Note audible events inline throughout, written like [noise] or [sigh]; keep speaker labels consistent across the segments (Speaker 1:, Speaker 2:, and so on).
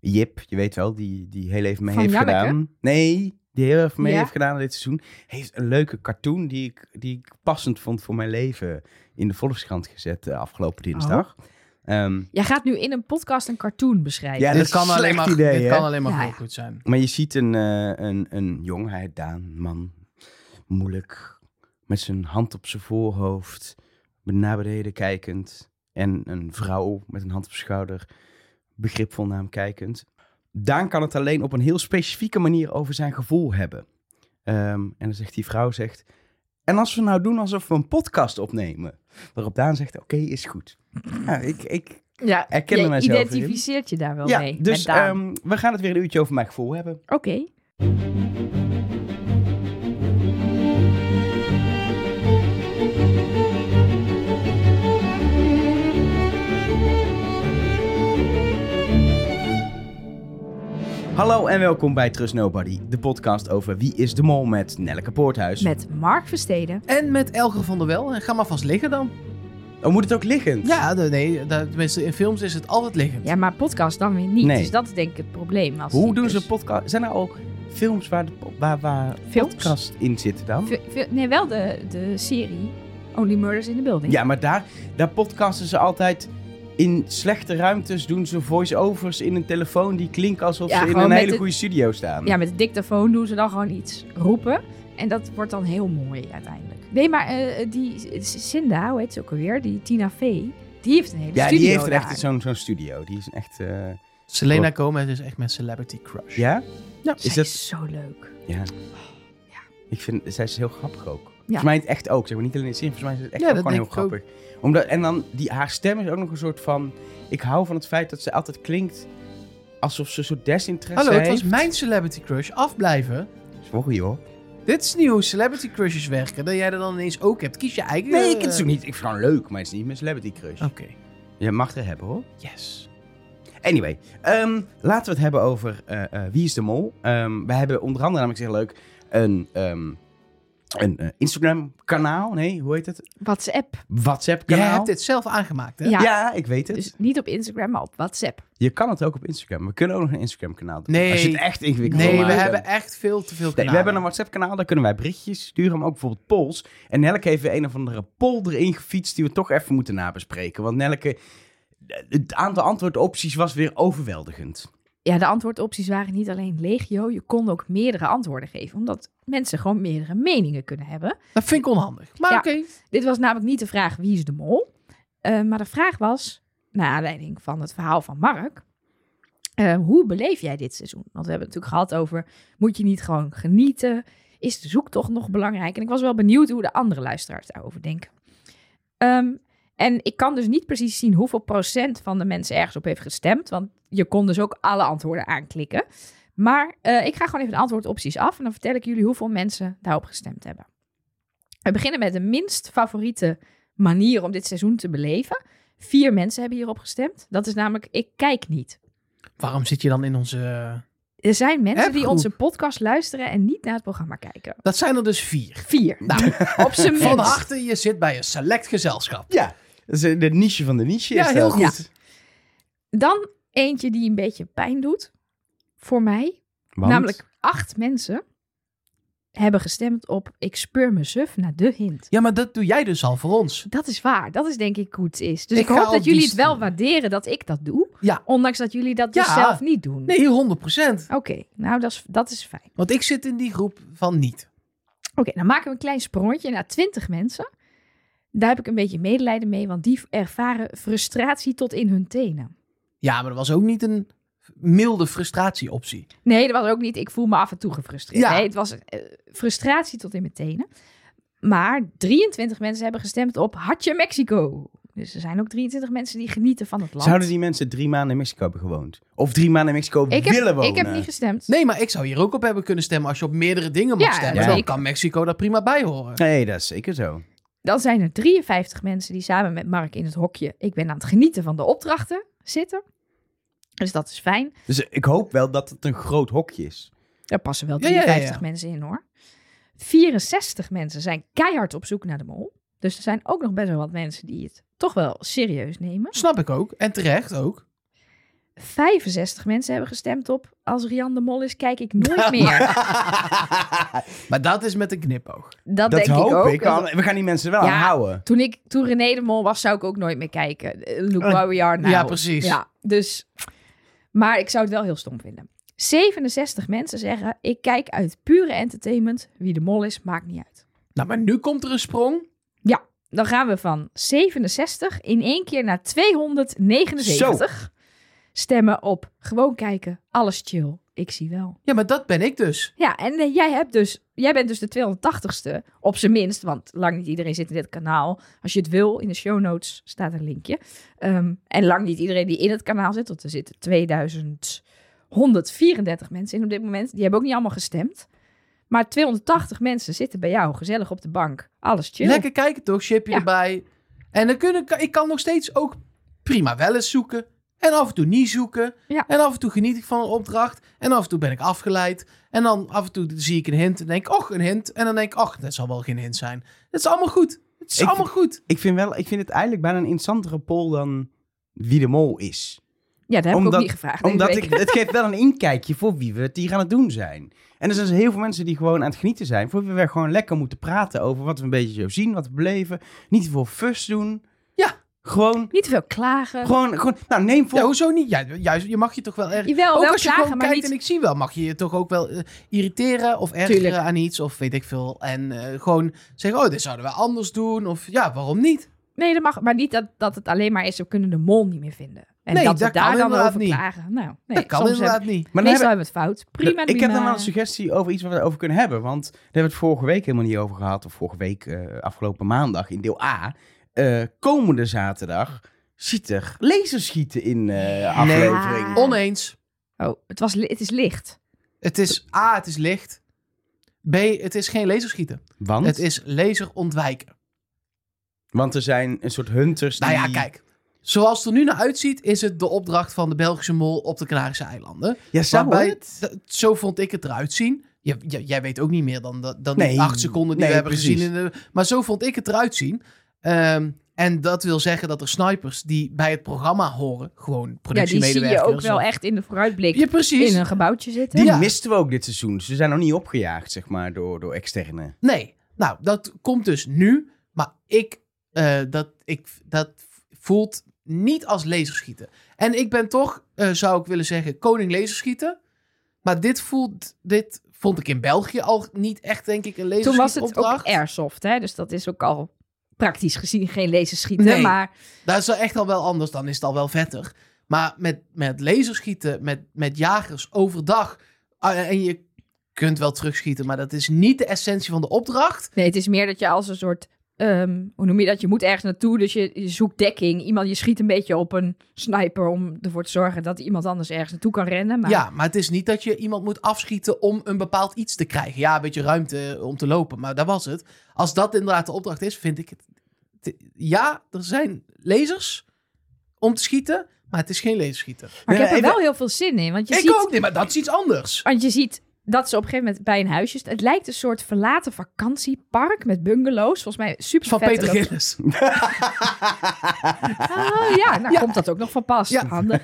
Speaker 1: Jip, je weet wel, die, die heel even mee
Speaker 2: Van
Speaker 1: heeft
Speaker 2: Janneke?
Speaker 1: gedaan. Nee, die heel even mee
Speaker 2: Ja.
Speaker 1: heeft gedaan dit seizoen. Heeft een leuke cartoon die ik, die ik passend vond voor mijn leven in de Volkskrant gezet de afgelopen dinsdag.
Speaker 3: Oh.
Speaker 1: Ehm,
Speaker 2: Jij gaat nu in een podcast een cartoon beschrijven.
Speaker 1: Ja, dat
Speaker 3: dit
Speaker 1: is
Speaker 3: kan
Speaker 1: een
Speaker 3: alleen
Speaker 1: slecht
Speaker 3: maar,
Speaker 1: idee,
Speaker 3: dit
Speaker 1: hè?
Speaker 3: kan alleen maar
Speaker 2: Ja,
Speaker 3: heel
Speaker 2: ja.
Speaker 3: goed zijn.
Speaker 1: maar je ziet een, eh, een, een jong, hij Daan, man, moeilijk, met zijn hand op zijn voorhoofd, naar beneden kijkend. En een vrouw met een hand op zijn schouder, begripvol naar hem kijkend. Daan kan het alleen op een heel specifieke manier over zijn gevoel hebben. Ehm, en dan zegt die vrouw, zegt, en als we nou doen alsof we een podcast opnemen? Waarop Daan zegt, oké, is
Speaker 2: [clears throat]
Speaker 1: goed. Nou, ik, ik
Speaker 2: Ja,
Speaker 1: herken er
Speaker 2: jij
Speaker 1: mijzelf in.
Speaker 2: identificeert je daar wel
Speaker 1: ja,
Speaker 2: mee.
Speaker 1: dus
Speaker 2: met Daan.
Speaker 1: ehm, we gaan het weer een uurtje over mijn gevoel hebben.
Speaker 2: Oké.
Speaker 1: Hallo en welkom bij Trust Nobody, de podcast over Wie is de Mol met Nelleke Poorthuis.
Speaker 2: Met Mark Versteden.
Speaker 3: En met Elger van der Wel. En Ga maar vast liggen dan.
Speaker 1: Oh, moet het ook liggend?
Speaker 3: Ja, de- nee, de- tenminste in films is het altijd liggend.
Speaker 2: Ja, maar podcast dan weer niet.
Speaker 1: Nee.
Speaker 2: Dus dat is denk ik het probleem. Als
Speaker 1: Hoe
Speaker 2: die
Speaker 1: doen
Speaker 2: dus-
Speaker 1: ze een podcast? Zijn er al films waar, de, po- waar, waar
Speaker 2: Films?
Speaker 1: podcast in zitten dan?
Speaker 2: Ve- ve- Nee, wel de, de serie Only Murders in the Building.
Speaker 1: Ja, maar daar, daar podcasten ze altijd in slechte ruimtes, doen ze voice-overs in een telefoon die klinken alsof
Speaker 2: Ja,
Speaker 1: ze in
Speaker 2: gewoon
Speaker 1: een
Speaker 2: met
Speaker 1: hele
Speaker 2: de-
Speaker 1: goede studio staan.
Speaker 2: Ja, met de dictafoon doen ze dan gewoon iets roepen. En dat wordt dan heel mooi uiteindelijk. Nee, maar eh, die Cinda, hoe heet ze ook alweer? Die Tina Fey. Die heeft een hele
Speaker 1: Ja,
Speaker 2: studio
Speaker 1: die heeft er
Speaker 2: daar.
Speaker 1: echt zo'n zo'n studio. Die is echt... eh,
Speaker 3: Selena Gomez is echt mijn celebrity crush.
Speaker 1: Ja? Ja.
Speaker 2: Zij
Speaker 1: Is
Speaker 2: is
Speaker 1: dat...
Speaker 2: zo leuk.
Speaker 1: Ja.
Speaker 2: Ja.
Speaker 1: Ik vind, zij is heel grappig ook. Volgens mij in het echt ook. Zeg maar niet alleen in het zin, volgens mij is het echt
Speaker 3: Ja,
Speaker 1: ook
Speaker 3: dat
Speaker 1: gewoon heel
Speaker 3: denk ik
Speaker 1: grappig. Omdat, en dan, die, haar stem is ook nog een soort van... Ik hou van het feit dat ze altijd klinkt alsof ze zo desinteresse
Speaker 3: Hallo, het
Speaker 1: heeft.
Speaker 3: was mijn celebrity crush. Afblijven.
Speaker 1: Sorry hoor.
Speaker 3: Dit is nieuw, celebrity crushes werken. Dat jij er dan ineens ook hebt. Kies je eigen...
Speaker 1: Nee, ik
Speaker 3: eh,
Speaker 1: het is ook niet. Ik vind het gewoon leuk, maar het is niet mijn celebrity crush.
Speaker 3: Oké,
Speaker 1: Je mag er hebben hoor.
Speaker 3: yes.
Speaker 1: Anyway, ehm, laten we het hebben over eh, eh, Wie is de Mol. Ehm, we hebben onder andere namelijk, zeg leuk, een... ehm, een eh, Instagram-kanaal, nee, hoe heet het?
Speaker 2: WhatsApp.
Speaker 3: Jij
Speaker 1: WhatsApp-kanaal.
Speaker 3: hebt dit zelf aangemaakt, hè?
Speaker 2: Ja.
Speaker 1: ja, ik weet het.
Speaker 2: Dus niet op Instagram, maar op WhatsApp.
Speaker 1: Je kan het ook op Instagram. We kunnen ook nog een Instagram-kanaal doen.
Speaker 3: Nee.
Speaker 1: Als je het echt ingewikkeld wil
Speaker 3: Nee, we
Speaker 1: maken.
Speaker 3: hebben echt veel te veel
Speaker 1: Nee,
Speaker 3: kanalen.
Speaker 1: we hebben een WhatsApp-kanaal, daar kunnen wij berichtjes sturen, maar ook bijvoorbeeld polls. En Nelke heeft weer een of andere poll erin gefietst die we toch even moeten nabespreken. Want Nelke, het aantal antwoordopties was weer overweldigend.
Speaker 2: Ja, de antwoordopties waren niet alleen legio. Je kon ook meerdere antwoorden geven. Omdat mensen gewoon meerdere meningen kunnen hebben.
Speaker 3: Dat vind ik onhandig. Maar
Speaker 2: Ja.
Speaker 3: oké.
Speaker 2: Dit was namelijk niet de vraag wie is de mol. Eh, maar de vraag was, naar aanleiding van het verhaal van Mark, eh, hoe beleef jij dit seizoen? Want we hebben het natuurlijk gehad over, moet je niet gewoon genieten? Is de zoektocht nog belangrijk? En ik was wel benieuwd hoe de andere luisteraars daarover denken. Ehm, en ik kan dus niet precies zien hoeveel procent van de mensen ergens op heeft gestemd. Want je kon dus ook alle antwoorden aanklikken. Maar eh, ik ga gewoon even de antwoordopties af en dan vertel ik jullie hoeveel mensen daarop gestemd hebben. We beginnen met de minst favoriete manier om dit seizoen te beleven. Vier mensen hebben hierop gestemd. Dat is namelijk ik kijk niet.
Speaker 3: Waarom zit je dan in onze...
Speaker 2: Er zijn mensen die
Speaker 3: Appgroep.
Speaker 2: onze podcast luisteren en niet naar het programma kijken.
Speaker 3: Dat zijn er dus vier. [laughs]
Speaker 2: Vier. Nou, [laughs] op zijn
Speaker 3: Van
Speaker 2: minst.
Speaker 3: harte, je zit bij een select gezelschap.
Speaker 1: Ja, dat is eh, de niche van de niche.
Speaker 3: Ja,
Speaker 1: is
Speaker 3: heel
Speaker 1: dat.
Speaker 3: goed.
Speaker 2: Dan eentje die een beetje pijn doet voor mij.
Speaker 1: Want-
Speaker 2: Namelijk acht mensen hebben gestemd op ik speur me suf naar de hint.
Speaker 3: Ja, maar dat doe jij dus al voor ons.
Speaker 2: Dat is waar. Dat is denk ik hoe het is. Dus
Speaker 3: Ik
Speaker 2: ik,
Speaker 3: ga
Speaker 2: hoop
Speaker 3: op
Speaker 2: dat
Speaker 3: die
Speaker 2: jullie het wel
Speaker 3: stoel.
Speaker 2: waarderen dat ik dat doe.
Speaker 3: Ja.
Speaker 2: Ondanks dat jullie dat dus
Speaker 3: Ja.
Speaker 2: zelf niet doen.
Speaker 3: Nee, 100 procent.
Speaker 2: Oké, nou dat is, dat is fijn.
Speaker 3: Want ik zit in die groep van niet.
Speaker 2: Oké, dan maken we een klein sprongetje naar 20 mensen. Daar heb ik een beetje medelijden mee, want die ervaren frustratie tot in hun tenen.
Speaker 3: Ja, maar dat was ook niet een milde frustratieoptie.
Speaker 2: Nee, dat was ook niet. Ik voel me af en toe gefrustreerd.
Speaker 3: Ja.
Speaker 2: Nee, het was eh, frustratie tot in mijn tenen. Maar 23 mensen hebben gestemd op Hartje Mexico. Dus er zijn ook 23 mensen die genieten van het land.
Speaker 1: Zouden die mensen drie maanden in Mexico hebben gewoond? Of drie maanden in Mexico
Speaker 2: ik,
Speaker 1: willen
Speaker 2: heb,
Speaker 1: wonen?
Speaker 2: ik heb niet gestemd.
Speaker 3: Nee, maar ik zou hier ook op hebben kunnen stemmen als je op meerdere dingen mag
Speaker 2: Ja,
Speaker 3: stemmen.
Speaker 1: ja.
Speaker 3: Dan
Speaker 2: zeker.
Speaker 3: kan Mexico daar prima bij horen.
Speaker 1: Nee, dat is zeker zo.
Speaker 2: Dan zijn er 53 mensen die samen met Mark in het hokje... ik ben aan het genieten van de opdrachten zitten. Dus dat is fijn.
Speaker 1: Dus ik hoop wel dat het een groot hokje [laughs] is.
Speaker 2: Daar passen wel
Speaker 3: Ja, ja, ja, ja.
Speaker 2: 53 mensen in hoor. 64 mensen zijn keihard op zoek naar de mol. Dus er zijn ook nog best wel wat mensen die het toch wel serieus nemen.
Speaker 3: Snap ik ook. En terecht ook.
Speaker 2: 65 mensen hebben gestemd op... Als Rian de Mol is, kijk ik
Speaker 3: [laughs]
Speaker 2: nooit meer.
Speaker 3: maar dat is met een knipoog.
Speaker 2: Dat,
Speaker 1: dat
Speaker 2: denk
Speaker 1: hoop
Speaker 2: ik ook.
Speaker 1: want we gaan die mensen wel
Speaker 2: Ja.
Speaker 1: aan houden.
Speaker 2: Toen, ik, toen René de Mol was, zou ik ook nooit meer kijken. Eh, Look
Speaker 3: Eh,
Speaker 2: where we are now.
Speaker 3: ja, precies.
Speaker 2: Ja, dus... Maar ik zou het wel heel stom vinden. 67 mensen zeggen... Ik kijk uit pure entertainment. Wie de Mol is, maakt niet uit.
Speaker 3: Nou, maar nu komt er een sprong.
Speaker 2: Dan gaan we van 67 in één keer naar 279. Stemmen op gewoon kijken, alles chill, ik zie wel.
Speaker 3: Ja, maar dat ben ik dus.
Speaker 2: Ja, en eh, jij, hebt dus, jij bent dus de 280ste, op zijn minst, want lang niet iedereen zit in dit kanaal. Als je het wil, in de show notes staat een linkje. Ehm, en lang niet iedereen die in het kanaal zit, want er zitten 2134 mensen in op dit moment. Die hebben ook niet allemaal gestemd. Maar 280 mensen zitten bij jou, gezellig op de bank, alles chill.
Speaker 3: Lekker kijken toch, chipje
Speaker 2: Ja.
Speaker 3: erbij. En dan kunnen, ik kan nog steeds ook prima wel eens zoeken. En af en toe niet zoeken.
Speaker 2: Ja.
Speaker 3: En af en toe geniet ik van een opdracht. En af en toe ben ik afgeleid. En dan af en toe zie ik een hint en denk ik, och, een hint. En dan denk ik, och, dat zal wel geen hint zijn. Het is allemaal goed. Het is
Speaker 1: Ik-
Speaker 3: allemaal goed.
Speaker 1: Ik vind, wel, ik vind het eigenlijk bijna een interessantere poll dan wie de mol is.
Speaker 2: Ja, dat heb ik
Speaker 1: Omdat-
Speaker 2: ook niet gevraagd. deze
Speaker 1: Omdat
Speaker 2: week.
Speaker 1: ik, het geeft wel een inkijkje voor wie we het hier aan het doen zijn. En er zijn dus heel veel mensen die gewoon aan het genieten zijn. Voor wie we gewoon lekker moeten praten over wat we een beetje zo zien, wat we beleven. Niet te veel fuss doen.
Speaker 3: Ja.
Speaker 1: Gewoon,
Speaker 2: Niet te veel klagen.
Speaker 1: gewoon, gewoon. Nou, neem voor.
Speaker 3: Ja, hoezo niet? Ja, juist, je mag je toch wel erg...
Speaker 2: Jawel,
Speaker 3: eh, ook
Speaker 2: wel
Speaker 3: als je
Speaker 2: klagen,
Speaker 3: gewoon
Speaker 2: maar
Speaker 3: kijkt
Speaker 2: niet...
Speaker 3: en ik zie wel, mag je je toch ook wel eh, irriteren of ergeren
Speaker 2: Tuurlijk.
Speaker 3: aan iets of weet ik veel. En eh, gewoon zeggen, oh, dit zouden we anders doen. Of ja, waarom niet?
Speaker 2: Nee, dat mag. Maar niet dat, dat het alleen maar is, we kunnen de mol niet meer vinden. En
Speaker 3: Nee,
Speaker 2: dat we
Speaker 3: dat kan
Speaker 2: daar dan
Speaker 3: inderdaad
Speaker 2: over
Speaker 3: niet.
Speaker 2: klagen. Nou, nee,
Speaker 3: dat kan
Speaker 2: soms
Speaker 3: inderdaad
Speaker 2: hebben-
Speaker 3: niet.
Speaker 1: maar dan
Speaker 2: meestal
Speaker 1: hebben-
Speaker 2: hebben we het fout. Prima,
Speaker 1: ik heb dan wel
Speaker 2: prima.
Speaker 1: een suggestie over iets waar we het over kunnen hebben. Want daar hebben we het vorige week helemaal niet over gehad. Of vorige week, eh, afgelopen maandag in deel A. Eh, komende zaterdag ziet er lasers schieten in eh aflevering.
Speaker 2: Ja.
Speaker 3: Oneens.
Speaker 2: Oh, het, was, li- het is licht.
Speaker 3: Het is A, het is licht. B, het is geen laserschieten.
Speaker 1: Want,
Speaker 3: Het is laser ontwijken.
Speaker 1: want er zijn een soort hunters
Speaker 3: Nou ja,
Speaker 1: die...
Speaker 3: kijk. Zoals het er nu naar uitziet, is het de opdracht van de Belgische mol op de Canarische eilanden.
Speaker 1: Ja, zou
Speaker 3: Waarbij-
Speaker 1: het?
Speaker 3: dat- zo vond ik het eruit zien. J- j- jij weet ook niet meer dan, dat- dan
Speaker 1: Nee,
Speaker 3: die acht seconden die
Speaker 1: nee,
Speaker 3: we hebben
Speaker 1: precies.
Speaker 3: gezien. In de, maar zo vond ik het eruit zien. Ehm, en dat wil zeggen dat er snipers die bij het programma horen, gewoon
Speaker 2: Ja, die
Speaker 3: productiemedewerkers.
Speaker 2: zie je ook wel
Speaker 3: of-
Speaker 2: echt in de vooruitblik
Speaker 3: Ja, precies.
Speaker 2: in een gebouwtje zitten.
Speaker 1: Die
Speaker 3: Ja.
Speaker 1: misten we ook dit seizoen. Ze zijn nog niet opgejaagd, zeg maar, door, door externe. [laughs]
Speaker 3: [laughs] Nee, nou, dat komt dus nu. Maar ik, eh, dat, ik, dat voelt niet als laserschieten. En ik ben toch, eh, zou ik willen zeggen, koning laserschieten. Maar dit voelt, dit vond ik in België al niet echt, denk ik, een
Speaker 2: Toen was het ook
Speaker 3: laserschietopdracht.
Speaker 2: airsoft, hè? dus dat is ook al praktisch gezien geen lezen schieten.
Speaker 3: Nee.
Speaker 2: Maar
Speaker 3: Dat is wel echt al wel anders, dan is het al wel vetter. Maar met, met laserschieten, met, met jagers overdag. ah, En je kunt wel terugschieten, maar dat is niet de essentie van de opdracht.
Speaker 2: nee, het is meer dat je als een soort... ehm, hoe noem je dat? Je moet ergens naartoe, dus je, je zoekt dekking. Iemand, je schiet een beetje op een sniper om ervoor te zorgen dat iemand anders ergens naartoe kan rennen. Maar
Speaker 3: Ja, maar het is niet dat je iemand moet afschieten om een bepaald iets te krijgen. Ja, een beetje ruimte om te lopen, maar dat was het. Als dat inderdaad de opdracht is, vind ik het... het- Ja, er zijn lasers om te schieten, maar het is geen laserschieten.
Speaker 2: Maar ik
Speaker 1: Nee,
Speaker 2: heb er
Speaker 1: even-
Speaker 2: wel heel veel zin in. Want je,
Speaker 3: ik
Speaker 2: ziet,
Speaker 3: ook niet, maar dat is iets anders.
Speaker 2: want je ziet dat ze op een gegeven moment bij een huisje... Het lijkt een soort verlaten vakantiepark met bungalows. Volgens mij super
Speaker 3: Van
Speaker 2: vet
Speaker 3: Peter
Speaker 2: ook.
Speaker 3: Gillis.
Speaker 2: [laughs] Oh ja, nou
Speaker 3: Ja.
Speaker 2: komt dat ook nog van pas.
Speaker 3: Ja.
Speaker 2: Handig.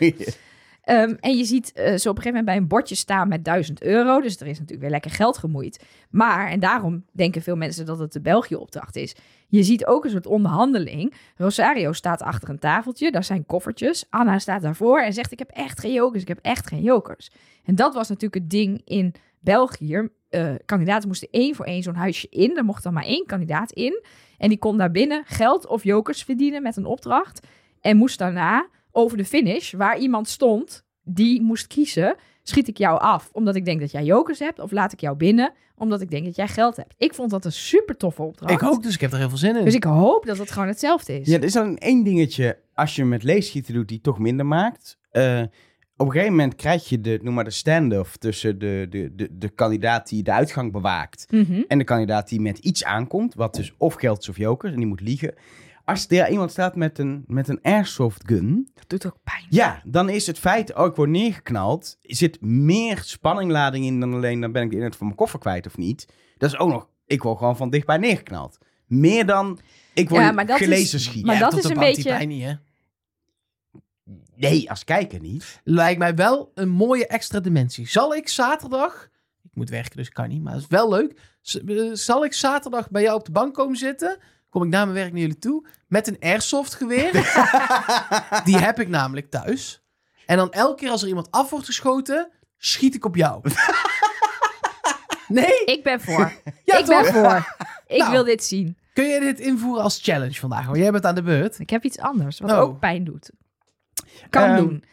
Speaker 2: Ehm, en je ziet eh, ze op een gegeven moment bij een bordje staan met 1000 euro. Dus er is natuurlijk weer lekker geld gemoeid. Maar, en daarom denken veel mensen dat het de België-opdracht is. Je ziet ook een soort onderhandeling. Rosario staat achter een tafeltje, daar zijn koffertjes. Anna staat daarvoor en zegt: Ik heb echt geen jokers, ik heb echt geen jokers. En dat was natuurlijk het ding in België. Eh, kandidaten moesten één voor één zo'n huisje in. Er mocht dan maar één kandidaat in. En die kon daar binnen geld of jokers verdienen met een opdracht. En moest daarna over de finish, waar iemand stond, die moest kiezen: schiet ik jou af omdat ik denk dat jij jokers hebt, of laat ik jou binnen omdat ik denk dat jij geld hebt. Ik vond dat een super toffe opdracht.
Speaker 3: Ik ook, dus ik heb er heel veel zin in.
Speaker 2: Dus ik hoop dat het gewoon hetzelfde is.
Speaker 1: Ja, er is dan één dingetje als je met leesgieten doet die het toch minder maakt. Eh, op een gegeven moment krijg je de, noem maar de stand-off tussen de, de, de, de kandidaat die de uitgang bewaakt
Speaker 2: Mhm.
Speaker 1: en de kandidaat die met iets aankomt, wat dus of geld is of jokers, en die moet liegen. Als er iemand staat met een, met een airsoft gun,
Speaker 2: Dat doet ook pijn.
Speaker 1: Ja, dan is het feit, oh, ik word neergeknald. Er zit meer spanninglading in dan alleen, dan ben ik de inhoud van mijn koffer kwijt of niet. Dat is ook nog, ik word gewoon van dichtbij neergeknald. Meer dan, ik word
Speaker 2: Ja, maar dat
Speaker 1: gelezen
Speaker 2: is-
Speaker 1: schiet.
Speaker 2: maar
Speaker 3: Ja,
Speaker 2: dat
Speaker 3: tot
Speaker 2: is
Speaker 3: op
Speaker 2: een
Speaker 3: de
Speaker 2: beetje-
Speaker 3: anti-pijn niet, hè?
Speaker 1: Nee, als kijker niet.
Speaker 3: Lijkt mij wel een mooie extra dimensie. Zal ik zaterdag... Ik moet werken, dus kan niet, maar dat is wel leuk. Z- eh, Zal ik zaterdag bij jou op de bank komen zitten? Kom ik na mijn werk naar jullie toe met een airsoft geweer? Die heb ik namelijk thuis. En dan elke keer als er iemand af wordt geschoten, schiet ik op jou. Nee?
Speaker 2: Ik ben voor.
Speaker 3: Ja,
Speaker 2: ik
Speaker 3: toch?
Speaker 2: ben voor. Ik
Speaker 3: Nou.
Speaker 2: wil dit zien.
Speaker 3: Kun je dit invoeren als challenge vandaag? Want jij bent aan de beurt.
Speaker 2: Ik heb iets anders, wat
Speaker 3: Oh.
Speaker 2: ook pijn doet. Kan
Speaker 1: Ehm,
Speaker 2: doen.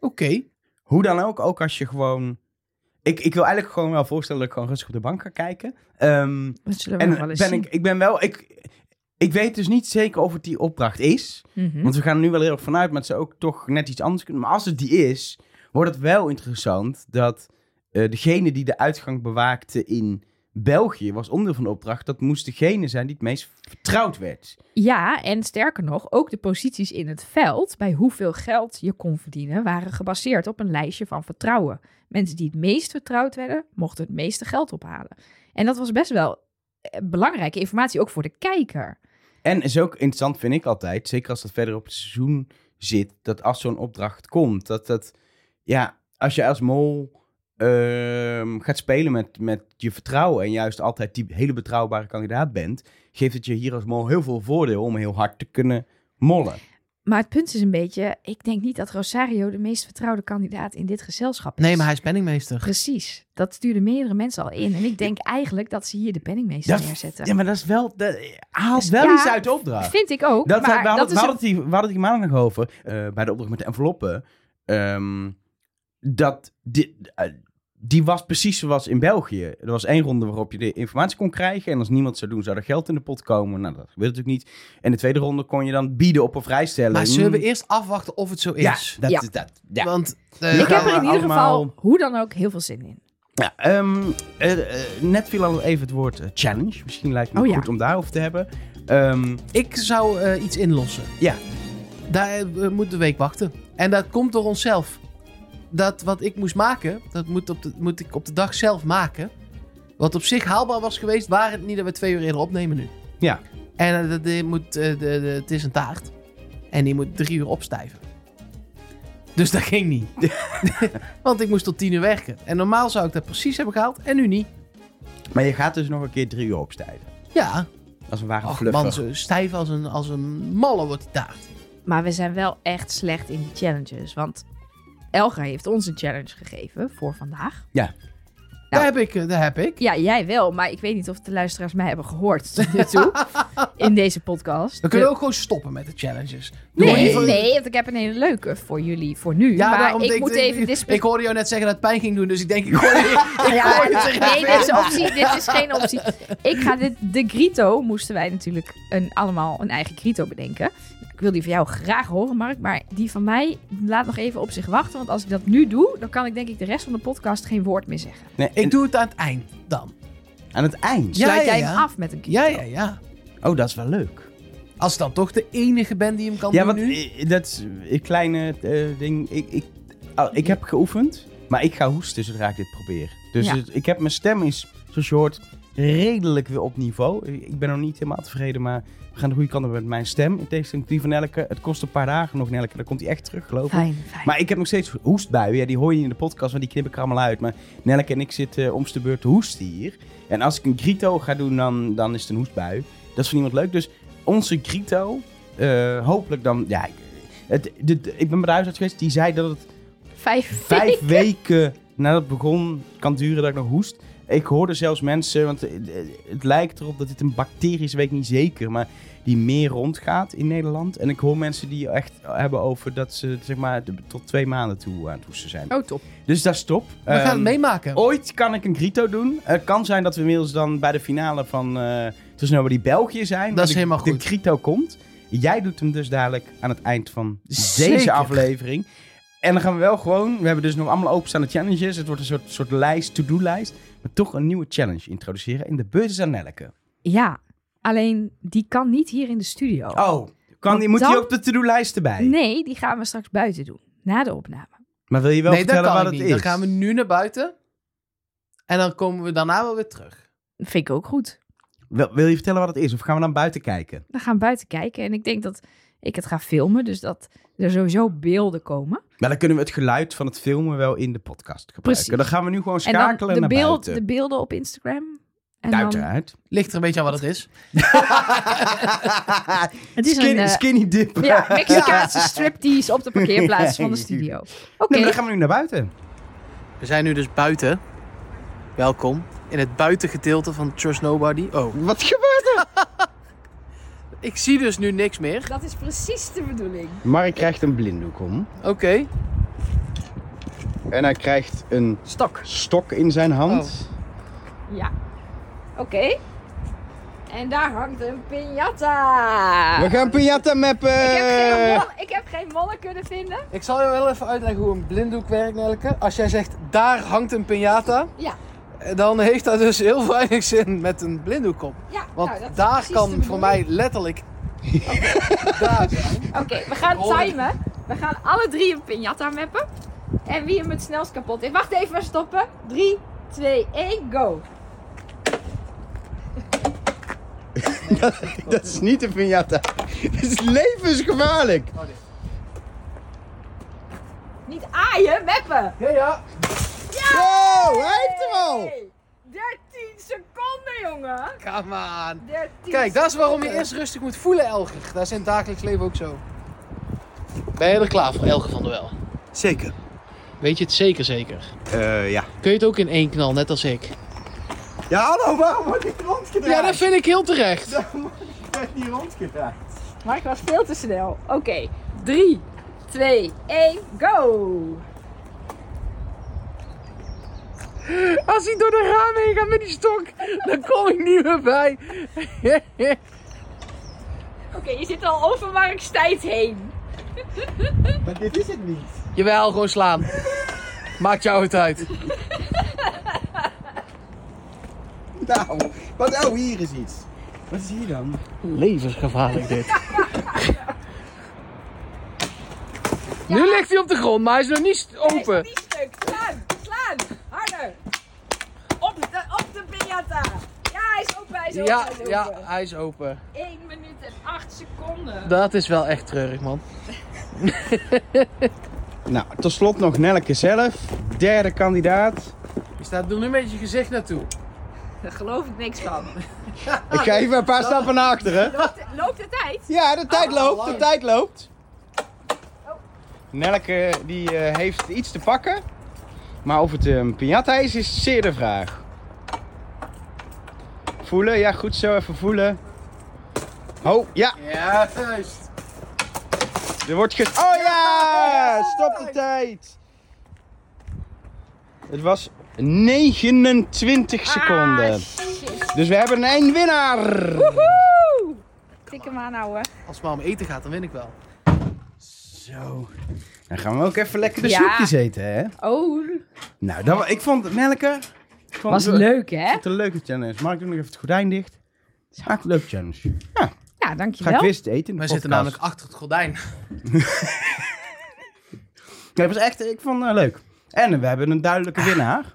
Speaker 3: Oké.
Speaker 1: Hoe dan ook, ook als je gewoon... Ik, ik wil eigenlijk gewoon wel voorstellen dat ik gewoon rustig op de bank kan kijken. Ehm,
Speaker 2: Dat zullen we nog wel
Speaker 1: en
Speaker 2: eens
Speaker 1: ben
Speaker 2: zien.
Speaker 1: ik, ik ben wel... Ik, ik weet dus niet zeker of het die opdracht is.
Speaker 2: Mhm.
Speaker 1: Want we gaan er nu wel heel erg vanuit, maar het zou ook toch net iets anders kunnen. Maar als het die is, wordt het wel interessant dat eh, degene die de uitgang bewaakte in België was onderdeel van de opdracht. Dat moest degene zijn die het meest vertrouwd werd.
Speaker 2: Ja, en sterker nog, ook de posities in het veld, bij hoeveel geld je kon verdienen, waren gebaseerd op een lijstje van vertrouwen. Mensen die het meest vertrouwd werden, mochten het meeste geld ophalen. En dat was best wel eh, belangrijke informatie, ook voor de kijker.
Speaker 1: En is ook interessant, vind ik altijd, zeker als dat verder op het seizoen zit, dat als zo'n opdracht komt, dat dat, ja, als je als mol ehm, gaat spelen met, met je vertrouwen en juist altijd die hele betrouwbare kandidaat bent, geeft het je hier als mol heel veel voordeel om heel hard te kunnen mollen.
Speaker 2: Maar het punt is een beetje, ik denk niet dat Rosario de meest vertrouwde kandidaat in dit gezelschap is.
Speaker 3: Nee, maar hij is penningmeester.
Speaker 2: Precies, dat stuurden meerdere mensen al in. En ik denk eigenlijk dat ze hier de penningmeester
Speaker 1: Dat-
Speaker 2: neerzetten.
Speaker 1: Ja, maar dat is wel, dat eh, haalt
Speaker 2: Dus-
Speaker 1: wel
Speaker 2: ja,
Speaker 1: iets uit de opdracht.
Speaker 2: Vind ik ook,
Speaker 1: Dat,
Speaker 2: maar
Speaker 1: we, hadden,
Speaker 2: dat
Speaker 1: we,
Speaker 2: is een-
Speaker 1: hadden het hier, we hadden het hier maandag nog over, eh, bij de opdracht met de enveloppen. ehm, dat die, eh, die was precies zoals in België. Er was één ronde waarop je de informatie kon krijgen. En als niemand zou doen, zou er geld in de pot komen. Nou, dat gebeurt natuurlijk niet. En de tweede ronde kon je dan bieden op een vrijstelling.
Speaker 3: Maar zullen we eerst afwachten of het zo
Speaker 1: Ja,
Speaker 3: is?
Speaker 1: dat,
Speaker 2: Ja.
Speaker 1: dat, ja.
Speaker 3: Want eh,
Speaker 1: Ja,
Speaker 2: Ik heb
Speaker 1: gaan
Speaker 2: er in
Speaker 1: we
Speaker 2: ieder geval,
Speaker 1: allemaal-
Speaker 2: hoe dan ook, heel veel zin in.
Speaker 1: Ja, ehm, eh, eh, net viel al even het woord eh, challenge. Misschien lijkt het me
Speaker 2: Oh ja.
Speaker 1: goed om daarover te hebben. Ehm,
Speaker 3: ik zou eh, iets inlossen.
Speaker 1: Ja.
Speaker 3: Daar eh, moet de week wachten. En dat komt door onszelf. Dat wat ik moest maken, dat moet, op de, moet ik op de dag zelf maken. Wat op zich haalbaar was geweest, waren het niet dat we twee uur eerder opnemen nu.
Speaker 1: Ja.
Speaker 3: En eh, dat- die moet, eh, de, de- het is een taart. En die moet drie uur opstijven. Dus dat ging niet.
Speaker 1: [laughs]
Speaker 3: [laughs] Want ik moest tot tien uur werken. En normaal zou ik dat precies hebben gehaald en nu niet.
Speaker 1: maar je gaat dus nog een keer drie uur opstijden.
Speaker 3: Ja,
Speaker 1: Als een ware
Speaker 3: Ach,
Speaker 1: fluffer.
Speaker 3: man, zo stijf als een, als een malle wordt die taart.
Speaker 2: Maar we zijn wel echt slecht in die challenges. Want Elga heeft ons een challenge gegeven voor vandaag. Nou.
Speaker 3: Daar heb ik, eh, daar heb ik.
Speaker 2: Ja, jij wel, maar ik weet niet of de luisteraars mij hebben gehoord tot
Speaker 1: [laughs]
Speaker 2: nu toe in deze podcast.
Speaker 3: Dan kunnen we ook gewoon stoppen met de challenges. Doe maar
Speaker 2: Nee,
Speaker 3: liever-
Speaker 2: nee, want ik heb een hele leuke voor jullie voor nu. maar
Speaker 3: daarom
Speaker 2: ik
Speaker 3: denk-
Speaker 2: moet even dispen-
Speaker 3: Ik hoorde jou net zeggen dat het pijn ging doen, dus ik denk ik
Speaker 2: [laughs]
Speaker 3: gooi ik
Speaker 2: Ah, Ja,
Speaker 3: gooi het er
Speaker 2: nee,
Speaker 3: even in.
Speaker 2: dit is, optie, dit is geen optie. Ik ga dit, de grito moesten wij natuurlijk een, allemaal een eigen grito bedenken. Ik wil die van jou graag horen, Mark, maar die van mij laat nog even op zich wachten. Want als ik dat nu doe, dan kan ik denk ik de rest van de podcast geen woord meer zeggen. Dus
Speaker 1: Nee, en
Speaker 3: Ik doe het aan het eind dan.
Speaker 1: aan het eind.
Speaker 3: Ja,
Speaker 2: Sluit
Speaker 3: ja,
Speaker 2: jij
Speaker 3: ja.
Speaker 2: hem af met een grito?
Speaker 3: Ja, ja, ja.
Speaker 1: Oh, dat is wel leuk.
Speaker 3: Als ik dan toch de enige ben die hem kan
Speaker 1: Ja,
Speaker 3: doen
Speaker 1: want
Speaker 3: nu.
Speaker 1: eh, dat is een kleine eh, ding. Ik, ik, ah, ik heb geoefend, maar ik ga hoesten zodra ik dit probeer. Dus
Speaker 2: Ja.
Speaker 1: het- ik heb mijn stem is, zoals je hoort, redelijk weer op niveau. Ik ik ben nog niet helemaal tevreden, maar we gaan de goede kant op met mijn stem. In tegenstelling tot die van Nelke. Het kost een paar dagen nog, Nelke. Dan komt hij echt terug, geloof ik.
Speaker 2: Fijn, fijn.
Speaker 1: Maar ik heb nog steeds hoestbuien. Ja, die hoor je niet in de podcast, want die knip ik er allemaal uit. Maar Nelke en ik zitten eh, om de beurt te hoesten hier. En als ik een grito ga doen, dan, dan is het een hoestbui. Dat is voor niemand leuk. Dus onze grito, eh, hopelijk dan... Ja, ik- het, dit- ik ben bij de huisarts geweest. Die zei dat het
Speaker 2: Vijf.
Speaker 1: vijf weken nadat het begon kan duren dat ik nog hoest. Ik hoorde zelfs mensen, want eh, eh, het lijkt erop dat dit een bacterie is, weet ik niet zeker, maar die meer rondgaat in Nederland. En ik hoor mensen die echt hebben over dat ze zeg maar de- tot twee maanden toe aan het hoesten zijn.
Speaker 2: Oh, top.
Speaker 1: Dus dat is top.
Speaker 3: We gaan het
Speaker 1: Ehm,
Speaker 3: meemaken.
Speaker 1: Ooit kan ik een grito doen. Het kan zijn dat we inmiddels dan bij de finale van eh tussen nou die België zijn. waar
Speaker 3: is
Speaker 1: de-
Speaker 3: helemaal goed.
Speaker 1: De grito komt. Jij doet hem dus dadelijk aan het eind van
Speaker 3: Zeker.
Speaker 1: deze aflevering. En dan gaan we wel gewoon. We hebben dus nog allemaal openstaande challenges. Het wordt een soort, soort lijst, to-do-lijst. Maar toch een nieuwe challenge introduceren. In de beurt is aan Nelke.
Speaker 2: Ja, alleen die kan niet hier in de studio.
Speaker 1: Oh, kan, die-
Speaker 2: Want
Speaker 1: moet die
Speaker 2: dan-
Speaker 1: op de to-do-lijst erbij?
Speaker 2: Nee, die gaan we straks buiten doen, na de opname.
Speaker 1: Maar wil je wel
Speaker 3: nee, dat
Speaker 1: vertellen
Speaker 3: kan
Speaker 1: wat
Speaker 3: ik
Speaker 1: het
Speaker 3: niet.
Speaker 1: is?
Speaker 3: Dan gaan we nu naar buiten. En dan komen we daarna wel weer terug.
Speaker 2: Dat vind ik ook goed.
Speaker 1: Wil, wil je vertellen wat het is? Of gaan we dan buiten kijken?
Speaker 2: We gaan buiten kijken en ik denk dat Ik het ga filmen, dus dat er sowieso beelden komen.
Speaker 1: Maar dan kunnen we het geluid van het filmen wel in de podcast gebruiken.
Speaker 2: Precies.
Speaker 1: Dan gaan we nu gewoon
Speaker 2: En dan
Speaker 1: schakelen
Speaker 2: de,
Speaker 1: naar
Speaker 2: beeld,
Speaker 1: buiten.
Speaker 2: de beelden op Instagram. En dan-
Speaker 1: Uiteraard.
Speaker 3: Ligt er een beetje aan wat het is.
Speaker 2: het is
Speaker 1: Skin-
Speaker 2: een eh,
Speaker 1: skinny dip. [laughs]
Speaker 2: ja, Mexicaanse striptease op de parkeerplaats van de studio. Oké,
Speaker 1: Nee, maar dan gaan we nu naar buiten.
Speaker 3: We zijn nu dus buiten. Welkom. In het buitengedeelte van Trust Nobody. Oh,
Speaker 1: Wat gebeurt
Speaker 3: ik zie dus nu niks meer.
Speaker 2: [laughs] dat is precies de bedoeling.
Speaker 1: Mark krijgt een blinddoek om.
Speaker 3: Oké.
Speaker 1: En hij krijgt een
Speaker 3: Stok.
Speaker 1: stok in zijn hand.
Speaker 2: Oh. Ja. Oké. En daar hangt een piñata.
Speaker 1: We gaan piñata mappen. [laughs]
Speaker 2: Ah. Ik heb, geen mol- ik heb geen mollen kunnen vinden.
Speaker 3: Ik zal je wel even uitleggen hoe een blinddoek werkt, Nelke. Als jij zegt, daar hangt een piñata,
Speaker 2: Ja.
Speaker 3: dan heeft dat dus heel weinig zin met een blinddoek op.
Speaker 2: Ja,
Speaker 3: Want
Speaker 2: nou, dat is
Speaker 3: daar
Speaker 2: precies de
Speaker 3: kan voor mij
Speaker 2: bedoeling.
Speaker 3: letterlijk... daar zijn.
Speaker 2: Oké, we gaan
Speaker 3: Oh.
Speaker 2: timen. We gaan alle drie een piñata mappen. En wie hem het snelst kapot is. Wacht even, we stoppen. 3, 2, 1, go.
Speaker 1: Dat is niet een piñata. Dit is levensgevaarlijk.
Speaker 2: Niet aaien, mappen.
Speaker 3: Ja, ja.
Speaker 1: Wow, hij heeft hem al.
Speaker 2: Hey, 13 seconden, jongen.
Speaker 3: Come on.
Speaker 2: 13
Speaker 3: Kijk, dat is waarom je
Speaker 2: seconden.
Speaker 3: eerst rustig moet voelen, Elger. Dat is in het dagelijks leven ook zo. Ben je er klaar voor, Elger van der Wel?
Speaker 1: Zeker. Eh,
Speaker 3: Weet je het zeker zeker?
Speaker 1: ja.
Speaker 3: Kun je het ook in één knal, net als ik?
Speaker 1: Ja, hallo, waarom wordt niet rondgedraaid?
Speaker 3: Ja, dat vind ik heel terecht.
Speaker 1: werd niet rondgedraaid.
Speaker 2: Maar ik was veel te snel. Oké, 3, 2, 1, go.
Speaker 3: Als hij door de ramen heen gaat met die stok, dan kom ik niet meer bij.
Speaker 2: Oké, je zit al over markstijd heen.
Speaker 1: Maar dit is het niet.
Speaker 3: Jawel, gewoon slaan. Maakt jou het uit.
Speaker 1: Nou, wat oh, hier is iets. Wat is hier dan?
Speaker 3: Levensgevaarlijk dit. Nu ligt hij op de grond, maar hij is nog niet st-
Speaker 2: Hey,
Speaker 3: open.
Speaker 2: die stuk. Slaan, slaan. Harder. Op de, op de piñata. Ja, hij is open, hij is open.
Speaker 3: Ja,
Speaker 2: hij is
Speaker 3: ja,
Speaker 2: open.
Speaker 3: hij is open.
Speaker 2: 1 minuut en 8 seconden.
Speaker 3: Dat is wel echt treurig, man.
Speaker 1: Nou, tot slot nog Nelke zelf. Derde kandidaat.
Speaker 3: Je staat er nu met je gezicht naartoe.
Speaker 2: Daar geloof ik niks van.
Speaker 1: Ik
Speaker 2: Ah,
Speaker 1: ga even een paar stappen naar achteren.
Speaker 2: Loopt de, [laughs] loopt de tijd?
Speaker 1: Ja, de tijd loopt, de
Speaker 3: lang.
Speaker 1: tijd loopt.
Speaker 2: Oh.
Speaker 1: Nelke die eh, heeft iets te pakken. Maar of het een piñata is, is zeer de vraag. Voelen, ja goed zo, even voelen. Oh, ja,
Speaker 3: Ja, juist.
Speaker 1: er wordt ge... Oh ja, stop de tijd. Het was 29
Speaker 2: Ah,
Speaker 1: seconden.
Speaker 2: shit.
Speaker 1: Dus we hebben een winnaar.
Speaker 2: Woehoe. Tik hem aan, ouwe.
Speaker 3: Als het maar om eten gaat, dan win ik wel.
Speaker 1: Zo. Dan gaan we ook even lekker de
Speaker 2: Ja.
Speaker 1: snoepjes eten, hè?
Speaker 2: Oh,
Speaker 1: Nou, dat, wa- ik vond het melken. Ik vond
Speaker 2: was
Speaker 1: het,
Speaker 2: leuk, hè?
Speaker 1: Het een leuke challenge. Mark, doe nog even het gordijn dicht. Maak een leuke challenge.
Speaker 2: Ja,
Speaker 1: Ga ik
Speaker 2: dankjewel.
Speaker 1: weer eens eten in de
Speaker 3: Wij zitten
Speaker 1: podcast.
Speaker 3: namelijk achter het gordijn.
Speaker 1: Nee, het was echt, ik vond het leuk. En we hebben een
Speaker 2: Ah.
Speaker 1: duidelijke winnaar.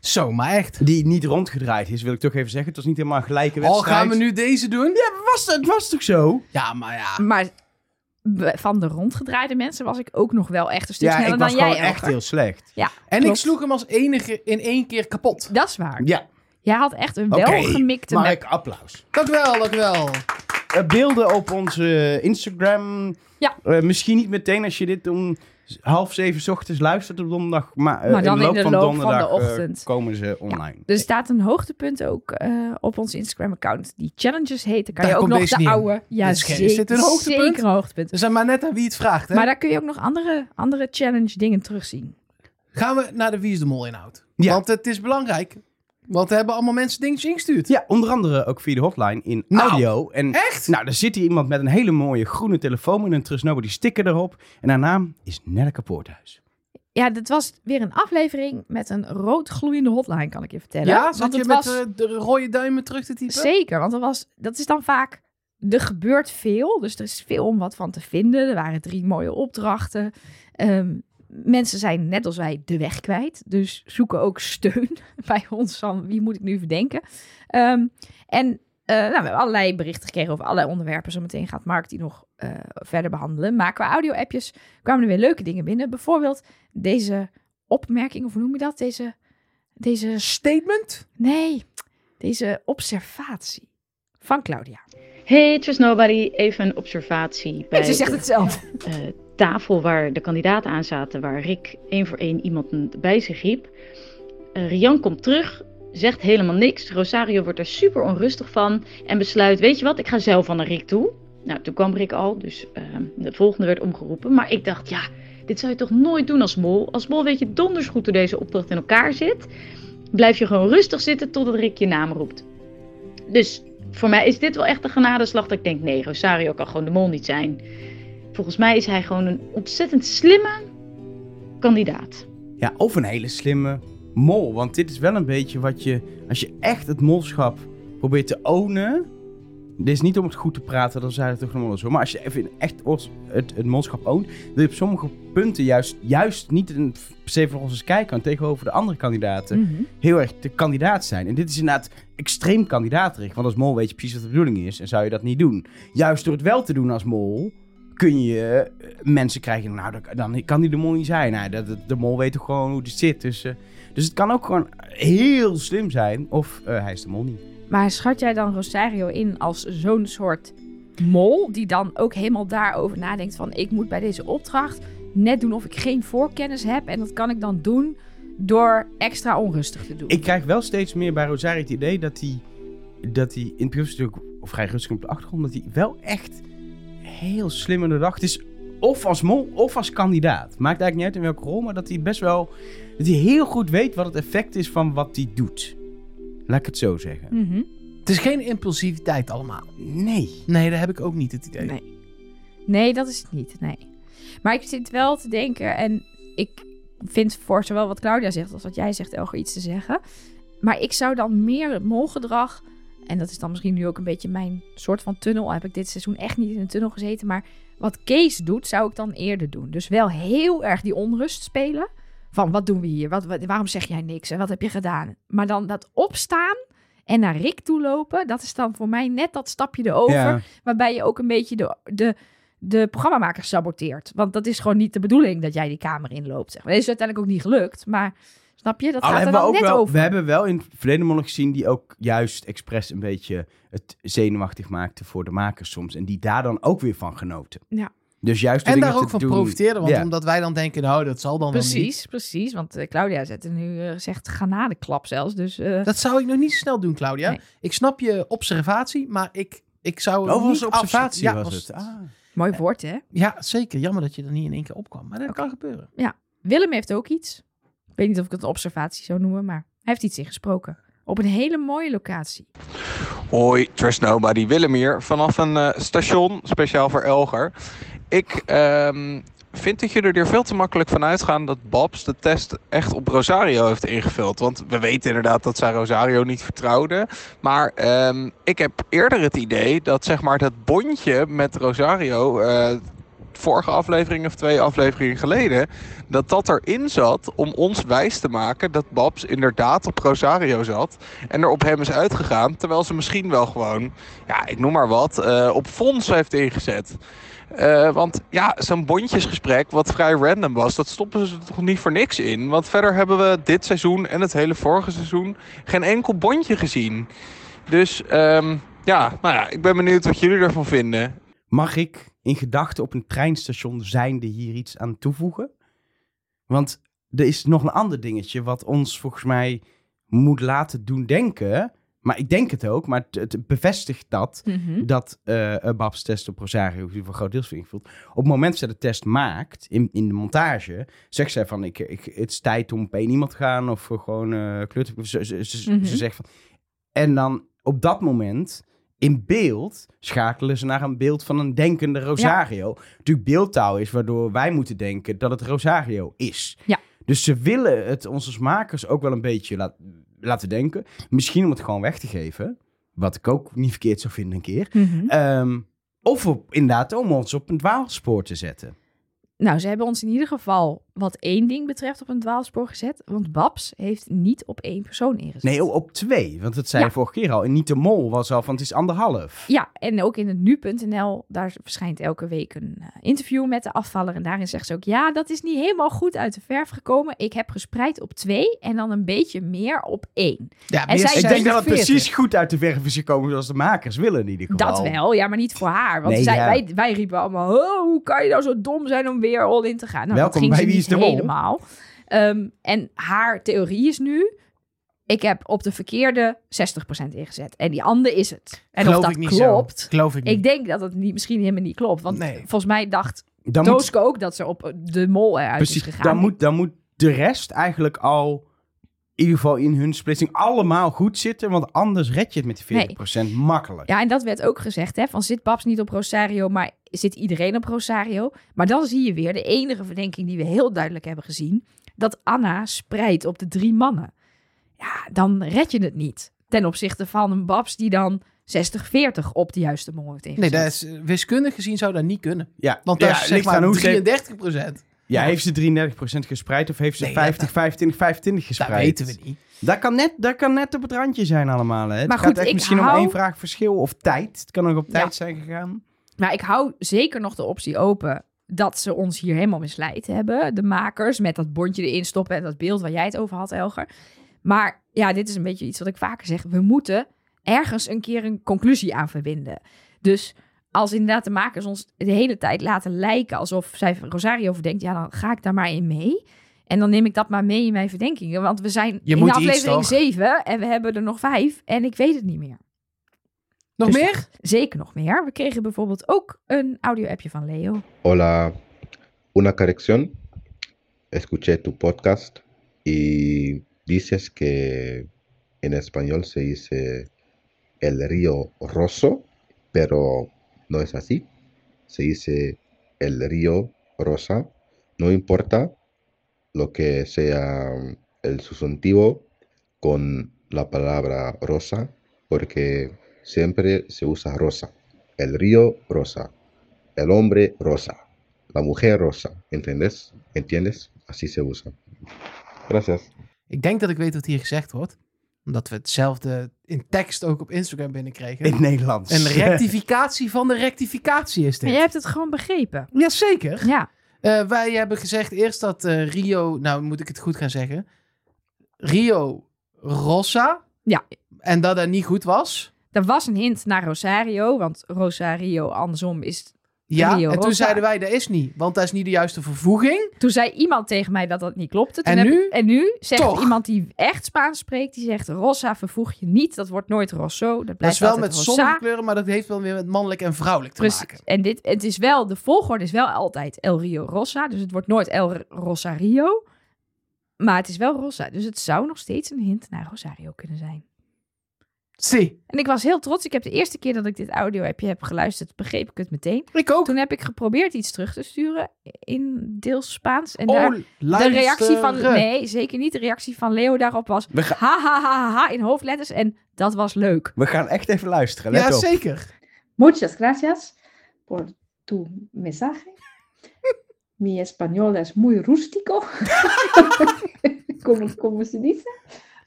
Speaker 3: Zo, maar echt.
Speaker 1: Die niet rondgedraaid is, wil ik toch even zeggen. Het was niet helemaal een gelijke
Speaker 3: Al
Speaker 1: wedstrijd.
Speaker 3: gaan we nu deze doen?
Speaker 1: Ja, maar was, het was toch zo?
Speaker 3: Ja, maar ja.
Speaker 2: Maar b- van de rondgedraaide mensen was ik ook nog wel echt een stuk
Speaker 1: ja,
Speaker 2: sneller
Speaker 1: ik was
Speaker 2: dan jij.
Speaker 1: gewoon echt
Speaker 2: Elger.
Speaker 1: heel slecht.
Speaker 2: Ja,
Speaker 3: En
Speaker 2: klopt.
Speaker 3: ik sloeg hem als enige in één keer kapot.
Speaker 2: Dat is waar.
Speaker 1: Ja,
Speaker 2: Jij had echt een
Speaker 1: oké.
Speaker 2: welgemikte map.
Speaker 1: Mark, applaus.
Speaker 3: Dank u wel, dank u wel.
Speaker 1: Eh, beelden op onze eh, Instagram.
Speaker 2: Ja.
Speaker 1: Eh, misschien niet meteen als je dit om z- half zeven 's ochtends luistert op donderdag. Maar, eh,
Speaker 2: Maar dan
Speaker 1: in de loop,
Speaker 2: in de
Speaker 1: van
Speaker 2: loop van de
Speaker 1: donderdag eh,
Speaker 2: ochtend.
Speaker 1: komen ze online.
Speaker 2: Er staat een hoogtepunt ook eh, op ons Instagram-account. Die challenges heten. Kan
Speaker 3: Daar
Speaker 2: je ook
Speaker 3: komt
Speaker 2: nog
Speaker 3: deze
Speaker 2: de
Speaker 3: niet in.
Speaker 2: oude... Ja,
Speaker 3: Dit is geen-
Speaker 2: zeker,
Speaker 3: is dit een hoogtepunt?
Speaker 2: Zeker een hoogtepunt.
Speaker 3: Dus zijn maar net aan wie het vraagt, hè?
Speaker 2: Maar daar kun je ook nog andere, andere challenge dingen terugzien.
Speaker 3: Gaan we naar de Wie is de Mol inhoud.
Speaker 1: Ja.
Speaker 3: Want het is belangrijk. Want er hebben allemaal mensen dingetjes ingestuurd.
Speaker 1: Ja, onder andere ook via de hotline in
Speaker 3: Nou,
Speaker 1: audio. En
Speaker 3: Echt?
Speaker 1: nou, daar zit hier iemand met een hele mooie groene telefoon en een Trust Nobody sticker erop. En haar naam is Nelke Poorthuis.
Speaker 2: Ja, dit was weer een aflevering met een rood gloeiende hotline, kan ik je vertellen.
Speaker 3: Ja,
Speaker 2: want
Speaker 3: zat je
Speaker 2: het
Speaker 3: met
Speaker 2: was...
Speaker 3: eh, de rode duimen terug te typen?
Speaker 2: Zeker, want dat, was, dat is dan vaak... Er gebeurt veel, dus er is veel om wat van te vinden. Er waren drie mooie opdrachten. Ehm, mensen zijn, net als wij, de weg kwijt. [laughs] Dus zoeken ook steun bij ons van wie moet ik nu verdenken. Ehm, en eh, eh, nou, we hebben allerlei berichten gekregen over allerlei onderwerpen. Zometeen gaat Mark die nog eh, verder behandelen. Maar qua audio-appjes kwamen er weer leuke dingen binnen. Bijvoorbeeld deze opmerking, of hoe noem je dat? Deze, deze
Speaker 3: Statement?
Speaker 2: Nee, deze observatie van Claudia.
Speaker 4: Hey, Trust Nobody. Even een observatie bij
Speaker 2: Ze zegt
Speaker 4: de
Speaker 2: het zelf.
Speaker 4: eh, tafel waar de kandidaten aan zaten, waar Rick één voor één iemand bij zich riep. Eh, Rian komt terug, zegt helemaal niks. Rosario wordt er super onrustig van en besluit, weet je wat, ik ga zelf aan naar Rick toe. Nou, toen kwam Rick al, dus eh, de volgende werd omgeroepen. Maar ik dacht, ja, dit zou je toch nooit doen als mol? Als mol weet je donders goed hoe deze opdracht in elkaar zit. Blijf je gewoon rustig zitten totdat Rick je naam roept. Dus voor mij is dit wel echt een genadeslag dat ik denk, nee, Rosario kan gewoon de mol niet zijn. Volgens mij is hij gewoon een ontzettend slimme kandidaat.
Speaker 1: Ja, of een hele slimme mol. Want dit is wel een beetje wat je, als je echt het molschap probeert te ownen. Dit is niet om het goed te praten, dan zijn het toch normaal zo. Maar als je even echt ons- het, het molschap oont, wil je op sommige punten juist, juist niet een, per se voor ons als kijker, maar tegenover de andere kandidaten, heel erg de kandidaat zijn. En dit is inderdaad extreem kandidaaterig. Want als mol weet je precies wat de bedoeling is en zou je dat niet doen. Juist door het wel te doen als mol, kun je eh, mensen krijgen. Nou, dan, dan kan die de mol niet zijn. Nou, dat, dat- de mol weet toch gewoon hoe dit zit. Dus, eh, dus het kan ook gewoon heel slim zijn. Of eh, hij is de mol niet.
Speaker 2: Maar schat jij dan Rosario in als zo'n soort mol die dan ook helemaal daarover nadenkt van ik moet bij deze opdracht net doen of ik geen voorkennis heb en dat kan ik dan doen door extra onrustig te doen.
Speaker 1: Ik krijg wel steeds meer bij Rosario het idee dat hij, dat hij in het begin natuurlijk vrij rustig op de achtergrond, dat hij wel echt heel slim in de dag. Het is of als mol of als kandidaat. Maakt eigenlijk niet uit in welke rol, maar dat hij best wel, dat hij heel goed weet wat het effect is van wat hij doet. Laat ik het zo zeggen.
Speaker 2: Mhm.
Speaker 3: Het is geen impulsiviteit allemaal.
Speaker 1: Nee.
Speaker 3: Nee, daar heb ik ook niet het idee.
Speaker 2: Nee. Nee, dat is het niet. Nee. Maar ik zit wel te denken en ik vind voor zowel wat Claudia zegt als wat jij zegt, Elger, iets te zeggen. Maar ik zou dan meer het molgedrag, en dat is dan misschien nu ook een beetje mijn soort van tunnel, al heb ik dit seizoen echt niet in een tunnel gezeten, maar wat Kees doet, zou ik dan eerder doen. Dus wel heel erg die onrust spelen. Van wat doen we hier? Wat, wat- waarom zeg jij niks? En wat heb je gedaan? Maar dan dat opstaan en naar Rick toe lopen, dat is dan voor mij net dat stapje erover.
Speaker 1: Ja.
Speaker 2: Waarbij je ook een beetje de, de, de programmamaker saboteert. Want dat is gewoon niet de bedoeling dat jij die kamer inloopt. Zeg. maar. Dat is uiteindelijk ook niet gelukt. Maar snap je, dat
Speaker 1: Al
Speaker 2: gaat er
Speaker 1: hebben Ah, we, ook
Speaker 2: dan net
Speaker 1: wel,
Speaker 2: over.
Speaker 1: we hebben wel in het verleden mannen gezien die ook juist expres een beetje het zenuwachtig maakten voor de makers soms. En die daar dan ook weer van genoten.
Speaker 2: Ja.
Speaker 1: Dus juist door
Speaker 3: En daar
Speaker 1: dingen
Speaker 3: ook
Speaker 1: te
Speaker 3: van
Speaker 1: doen-
Speaker 3: profiteerden, want
Speaker 1: Ja.
Speaker 3: omdat wij dan denken, nou, dat zal dan wel niet.
Speaker 2: Precies, precies. Want eh, Claudia zet er nu, eh, zegt granadeklap zelfs. Dus eh,
Speaker 3: Dat zou ik nog niet zo snel doen, Claudia.
Speaker 2: Nee.
Speaker 3: Ik snap je observatie, maar ik, ik zou het
Speaker 1: Oh, was
Speaker 3: niet
Speaker 1: een observatie
Speaker 3: afsluiten. Ja,
Speaker 1: was het. Ah.
Speaker 2: mooi woord, hè?
Speaker 3: Ja, zeker. Jammer dat je er niet in één keer opkwam. Maar dat kan gebeuren.
Speaker 2: Willem heeft ook iets. Ik weet niet of ik het een observatie zou noemen, maar hij heeft iets ingesproken. Op een hele mooie locatie.
Speaker 5: Hoi, Trust Nobody Willem hier. Vanaf een eh, station, speciaal voor Elger. Ik ehm, vind dat jullie er veel te makkelijk van uitgaan dat Babs de test echt op Rosario heeft ingevuld. Want we weten inderdaad dat zij Rosario niet vertrouwde. Maar ehm, ik heb eerder het idee dat zeg maar dat bondje met Rosario... eh, vorige aflevering of twee afleveringen geleden... dat dat erin zat om ons wijs te maken dat Babs inderdaad op Rosario zat en er op hem is uitgegaan. Terwijl ze misschien wel gewoon, ja, ik noem maar wat, eh, op Fons heeft ingezet. Eh, want ja, zo'n bondjesgesprek, wat vrij random was, dat stoppen ze toch niet voor niks in. Want verder hebben we dit seizoen en het hele vorige seizoen geen enkel bondje gezien. Dus ehm, ja, nou ja, ik ben benieuwd wat jullie ervan vinden.
Speaker 1: Mag ik in gedachten op een treinstation zijnde hier iets aan toevoegen? Want er is nog een ander dingetje wat ons volgens mij moet laten doen denken. Maar ik denk het ook, maar het, het bevestigt dat.
Speaker 2: Mhm.
Speaker 1: Dat eh eh, Babs test op Rosario, die voor groot deels voor ingevuld. Op het moment dat ze de test maakt, in, in de montage, zegt zij van: ik, ik, Het is tijd om op één iemand te gaan. Of gewoon eh klut. Ze, ze, ze,
Speaker 2: Mhm.
Speaker 1: ze zegt van. En dan op dat moment in beeld schakelen ze naar een beeld van een denkende Rosario. Natuurlijk beeldtaal is waardoor wij moeten denken dat het Rosario is.
Speaker 2: Ja.
Speaker 1: Dus ze willen het ons als makers ook wel een beetje laat- laten denken. Misschien om het gewoon weg te geven. Wat ik ook niet verkeerd zou vinden een keer.
Speaker 2: Mhm.
Speaker 1: Ehm, of op, inderdaad om ons op een dwaalspoor te zetten.
Speaker 2: Nou, ze hebben ons in ieder geval wat één ding betreft op een dwaalspoor gezet. Want Babs heeft niet op één persoon ingezet.
Speaker 1: Nee, oh, op twee. Want dat zei
Speaker 2: Ja.
Speaker 1: je vorige keer al. En niet de mol was al van het is anderhalf.
Speaker 2: Ja, en ook in het nu.nl, daar verschijnt elke week een eh, interview met de afvaller. En daarin zegt ze ook, ja, dat is niet helemaal goed uit de verf gekomen. Ik heb gespreid op twee en dan een beetje meer op één.
Speaker 3: Ja,
Speaker 2: En
Speaker 3: meer
Speaker 2: zij-
Speaker 1: Ik denk dat het
Speaker 3: 46.
Speaker 1: precies goed uit de verf is gekomen zoals de makers willen in ieder geval.
Speaker 2: Dat wel, ja, maar niet voor haar. Want
Speaker 1: Nee,
Speaker 2: zij,
Speaker 1: ja.
Speaker 2: wij, wij riepen allemaal, oh, hoe kan je nou zo dom zijn om weer all in te gaan? Nou,
Speaker 1: Welkom
Speaker 2: dat ging
Speaker 1: bij
Speaker 2: ze
Speaker 1: Wie
Speaker 2: niet
Speaker 1: is de Mol.
Speaker 2: helemaal. Ehm, en haar theorie is nu, ik heb op de verkeerde 60% ingezet. En die andere is het. En
Speaker 3: Geloof
Speaker 2: of dat
Speaker 3: ik niet
Speaker 2: klopt...
Speaker 3: Zo. Geloof ik niet.
Speaker 2: Ik denk dat het niet, misschien helemaal niet klopt. Want
Speaker 3: Nee.
Speaker 2: volgens mij dacht
Speaker 1: Dan moet,
Speaker 2: Dooske ook dat ze op eh, de mol eruit is
Speaker 1: precies,
Speaker 2: gegaan.
Speaker 1: dan, moet, dan moet de rest eigenlijk al... In ieder geval in hun splitsing allemaal goed zitten. Want anders red je het met die 40% makkelijk.
Speaker 2: Ja, en dat werd ook gezegd, hè, van zit Babs niet op Rosario, maar zit iedereen op Rosario? Maar dan zie je weer de enige verdenking die we heel duidelijk hebben gezien, dat Anna spreidt op de drie mannen. Ja, dan red je het niet. Ten opzichte van een Babs die dan 60-40 op de juiste mol heeft
Speaker 3: Nee,
Speaker 2: ingezet.
Speaker 3: dat is, eh, wiskundig gezien zou dat niet kunnen.
Speaker 1: Ja,
Speaker 3: Want
Speaker 1: ja,
Speaker 3: daar is zeg
Speaker 1: ligt
Speaker 3: maar
Speaker 1: aan hoe
Speaker 3: 33 procent.
Speaker 1: Ja, heeft ze 33% gespreid of heeft ze
Speaker 3: Nee,
Speaker 1: 50, 25, 25
Speaker 3: Dat
Speaker 1: gespreid?
Speaker 3: weten we niet.
Speaker 1: Dat kan, net, dat kan net op het randje zijn allemaal. Hè? Het
Speaker 2: Maar
Speaker 1: gaat
Speaker 2: goed,
Speaker 1: echt
Speaker 2: ik
Speaker 1: misschien
Speaker 2: hou-
Speaker 1: om één vraag verschil of tijd. Het kan ook op
Speaker 2: Ja.
Speaker 1: tijd zijn gegaan.
Speaker 2: Maar ik hou zeker nog de optie open dat ze ons hier helemaal misleid hebben. De makers met dat bondje erin stoppen en dat beeld waar jij het over had, Elger. Maar ja, dit is een beetje iets wat ik vaker zeg. We moeten ergens een keer een conclusie aan verbinden. Dus als inderdaad de makers ons de hele tijd laten lijken alsof zij Rosario verdenkt, ja, dan ga ik daar maar in mee. En dan neem ik dat maar mee in mijn verdenkingen. Want we zijn
Speaker 3: Je
Speaker 2: in
Speaker 3: moet iets,
Speaker 2: aflevering
Speaker 3: toch?
Speaker 2: 7 en we hebben er nog 5 en ik weet het niet meer.
Speaker 3: Nog
Speaker 2: Dus-
Speaker 3: meer?
Speaker 2: Zeker nog meer. We kregen bijvoorbeeld ook een audio-appje van Leo.
Speaker 6: Hola, una corrección. Escuché tu podcast y dices que en español se dice el río Rosso, pero no es así. Se dice el río Rosa. No importa lo que sea um, el sustantivo con la palabra rosa, porque siempre se usa rosa. El río Rosa. El hombre rosa. La mujer rosa. ¿Entendés? ¿Entiendes? Así se usa. Gracias.
Speaker 3: Ik denk dat ik weet wat hier gezegd wordt. Omdat we hetzelfde in tekst ook op Instagram binnenkregen.
Speaker 1: In het Nederlands.
Speaker 3: Een rectificatie van de rectificatie is
Speaker 2: Maar
Speaker 3: dit.
Speaker 2: jij hebt het gewoon begrepen.
Speaker 3: Jazeker.
Speaker 2: Ja,
Speaker 3: Eh, wij hebben gezegd eerst dat eh, Rio, nou moet ik het goed gaan zeggen, Rio Rossa.
Speaker 2: Ja.
Speaker 3: En dat dat niet goed was.
Speaker 2: er was een hint naar Rosario, want Rosario andersom is...
Speaker 3: Ja,
Speaker 2: Rio
Speaker 3: en toen
Speaker 2: Rossa.
Speaker 3: zeiden wij, dat is niet, want dat is niet de juiste vervoeging.
Speaker 2: Toen zei iemand tegen mij dat dat niet klopte. Toen
Speaker 3: En
Speaker 2: heb
Speaker 3: nu?
Speaker 2: ik- en nu zegt
Speaker 3: Toch.
Speaker 2: iemand die echt Spaans spreekt, die zegt Rosa vervoeg je niet, dat wordt nooit Rosso, dat
Speaker 3: Dat
Speaker 2: blijft
Speaker 3: is wel
Speaker 2: altijd
Speaker 3: met
Speaker 2: Rosa.
Speaker 3: zonnige kleuren, maar dat heeft wel weer met mannelijk en vrouwelijk te
Speaker 2: Precies.
Speaker 3: maken.
Speaker 2: En dit, het is wel, de volgorde is wel altijd El Rio Rosa, dus het wordt nooit El Rosario, maar het is wel Rosa. Dus het zou nog steeds een hint naar Rosario kunnen zijn.
Speaker 3: Zie,
Speaker 2: En ik was heel trots. Ik heb de eerste keer dat ik dit audio-appje heb geluisterd, begreep ik het meteen.
Speaker 3: ik ook.
Speaker 2: Toen heb ik geprobeerd iets terug te sturen in deels Spaans. En daar,
Speaker 3: Oh,
Speaker 2: de reactie van...
Speaker 3: luisteren.
Speaker 2: Nee, zeker niet. De reactie van Leo daarop was...
Speaker 1: We, ga-
Speaker 2: Ha, ha, ha, ha, ha, in hoofdletters. En dat was leuk.
Speaker 1: we gaan echt even luisteren. Let
Speaker 3: Ja,
Speaker 1: op.
Speaker 3: zeker.
Speaker 7: Muchas gracias por tu mensaje. Mi español es muy rústico, como, como se dice,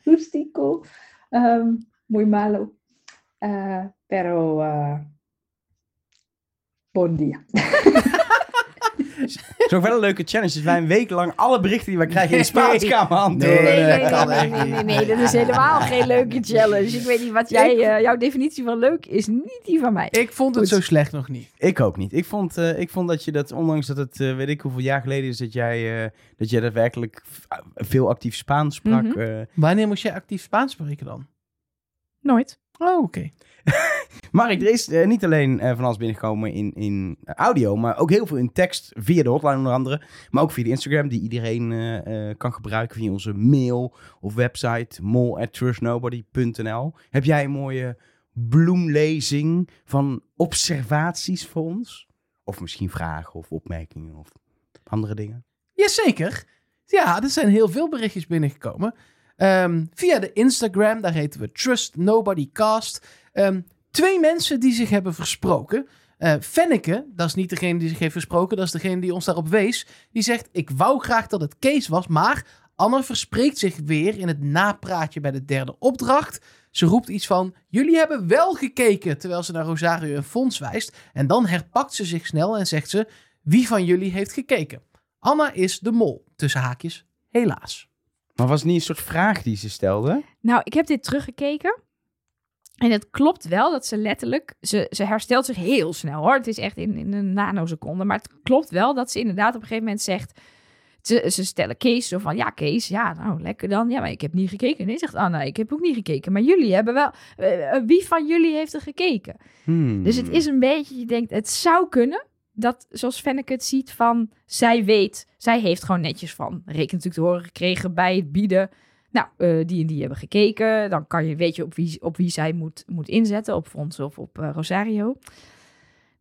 Speaker 7: rústico, um, muy malo, Ah, pero ah, buen día.
Speaker 1: Het is ook wel een leuke challenge. Dat wij een week lang alle berichten die wij krijgen in Spaans
Speaker 3: Nee.
Speaker 1: gaan beantwoorden.
Speaker 3: Nee, nee, nee,
Speaker 1: Dat Oh, kan
Speaker 3: nee,
Speaker 1: echt
Speaker 3: nee,
Speaker 1: niet.
Speaker 3: nee,
Speaker 2: dat is
Speaker 1: [laughs]
Speaker 2: helemaal geen leuke challenge. Ik weet niet wat jij... eh, jouw definitie van leuk is niet die van mij.
Speaker 3: Ik vond het
Speaker 2: Goed.
Speaker 3: zo slecht nog niet.
Speaker 1: Ik ook niet. Ik vond, eh, ik vond dat je dat, ondanks dat het eh, weet ik hoeveel jaar geleden is dat jij, eh, dat jij daadwerkelijk v- veel actief Spaans sprak.
Speaker 2: Mhm.
Speaker 1: eh,
Speaker 3: Wanneer moest jij actief Spaans spreken dan?
Speaker 2: Nooit.
Speaker 3: Oh, oké.
Speaker 1: Mark, er is eh, niet alleen eh, van alles binnengekomen in, in eh, audio, maar ook heel veel in tekst via de hotline onder andere. Maar ook via de Instagram die iedereen eh, eh, kan gebruiken via onze mail of website mol.trustnobody.nl. Heb jij een mooie bloemlezing van observaties voor ons? Of misschien vragen of opmerkingen of andere dingen?
Speaker 3: Jazeker. Ja, er zijn heel veel berichtjes binnengekomen. Ehm, via de Instagram, daar heten we Trust Nobody Cast. Ehm, twee mensen die zich hebben versproken. Eh Fenneke, dat is niet degene die zich heeft versproken, dat is degene die ons daarop wees. Die zegt: Ik wou graag dat het Kees was, maar Anne verspreekt zich weer in het napraatje bij de derde opdracht. Ze roept iets van: Jullie hebben wel gekeken, terwijl ze naar Rosario en Fons wijst. En dan herpakt ze zich snel en zegt ze: Wie van jullie heeft gekeken? Anna is de mol, tussen haakjes, helaas.
Speaker 1: Maar was het niet een soort vraag die ze stelde?
Speaker 2: Nou, ik heb dit teruggekeken. En het klopt wel dat ze letterlijk... Ze, ze herstelt zich heel snel, hoor. Het is echt in, in een nanoseconde. Maar het klopt wel dat ze inderdaad op een gegeven moment zegt... Ze, ze stellen Kees zo van... Ja, Kees, ja, nou, lekker dan. Ja, maar ik heb niet gekeken. Nee, zegt Anna, ik heb ook niet gekeken. Maar jullie hebben wel... eh, eh, wie van jullie heeft er gekeken?
Speaker 1: Hmm.
Speaker 2: Dus het is een beetje, je denkt, het zou kunnen dat, zoals Fenneke het ziet, van zij weet, zij heeft gewoon netjes van Rick natuurlijk te horen gekregen bij het bieden. Nou, eh, die en die hebben gekeken. Dan kan je, weet je op wie, op wie zij moet, moet inzetten, op Fons of op eh, Rosario.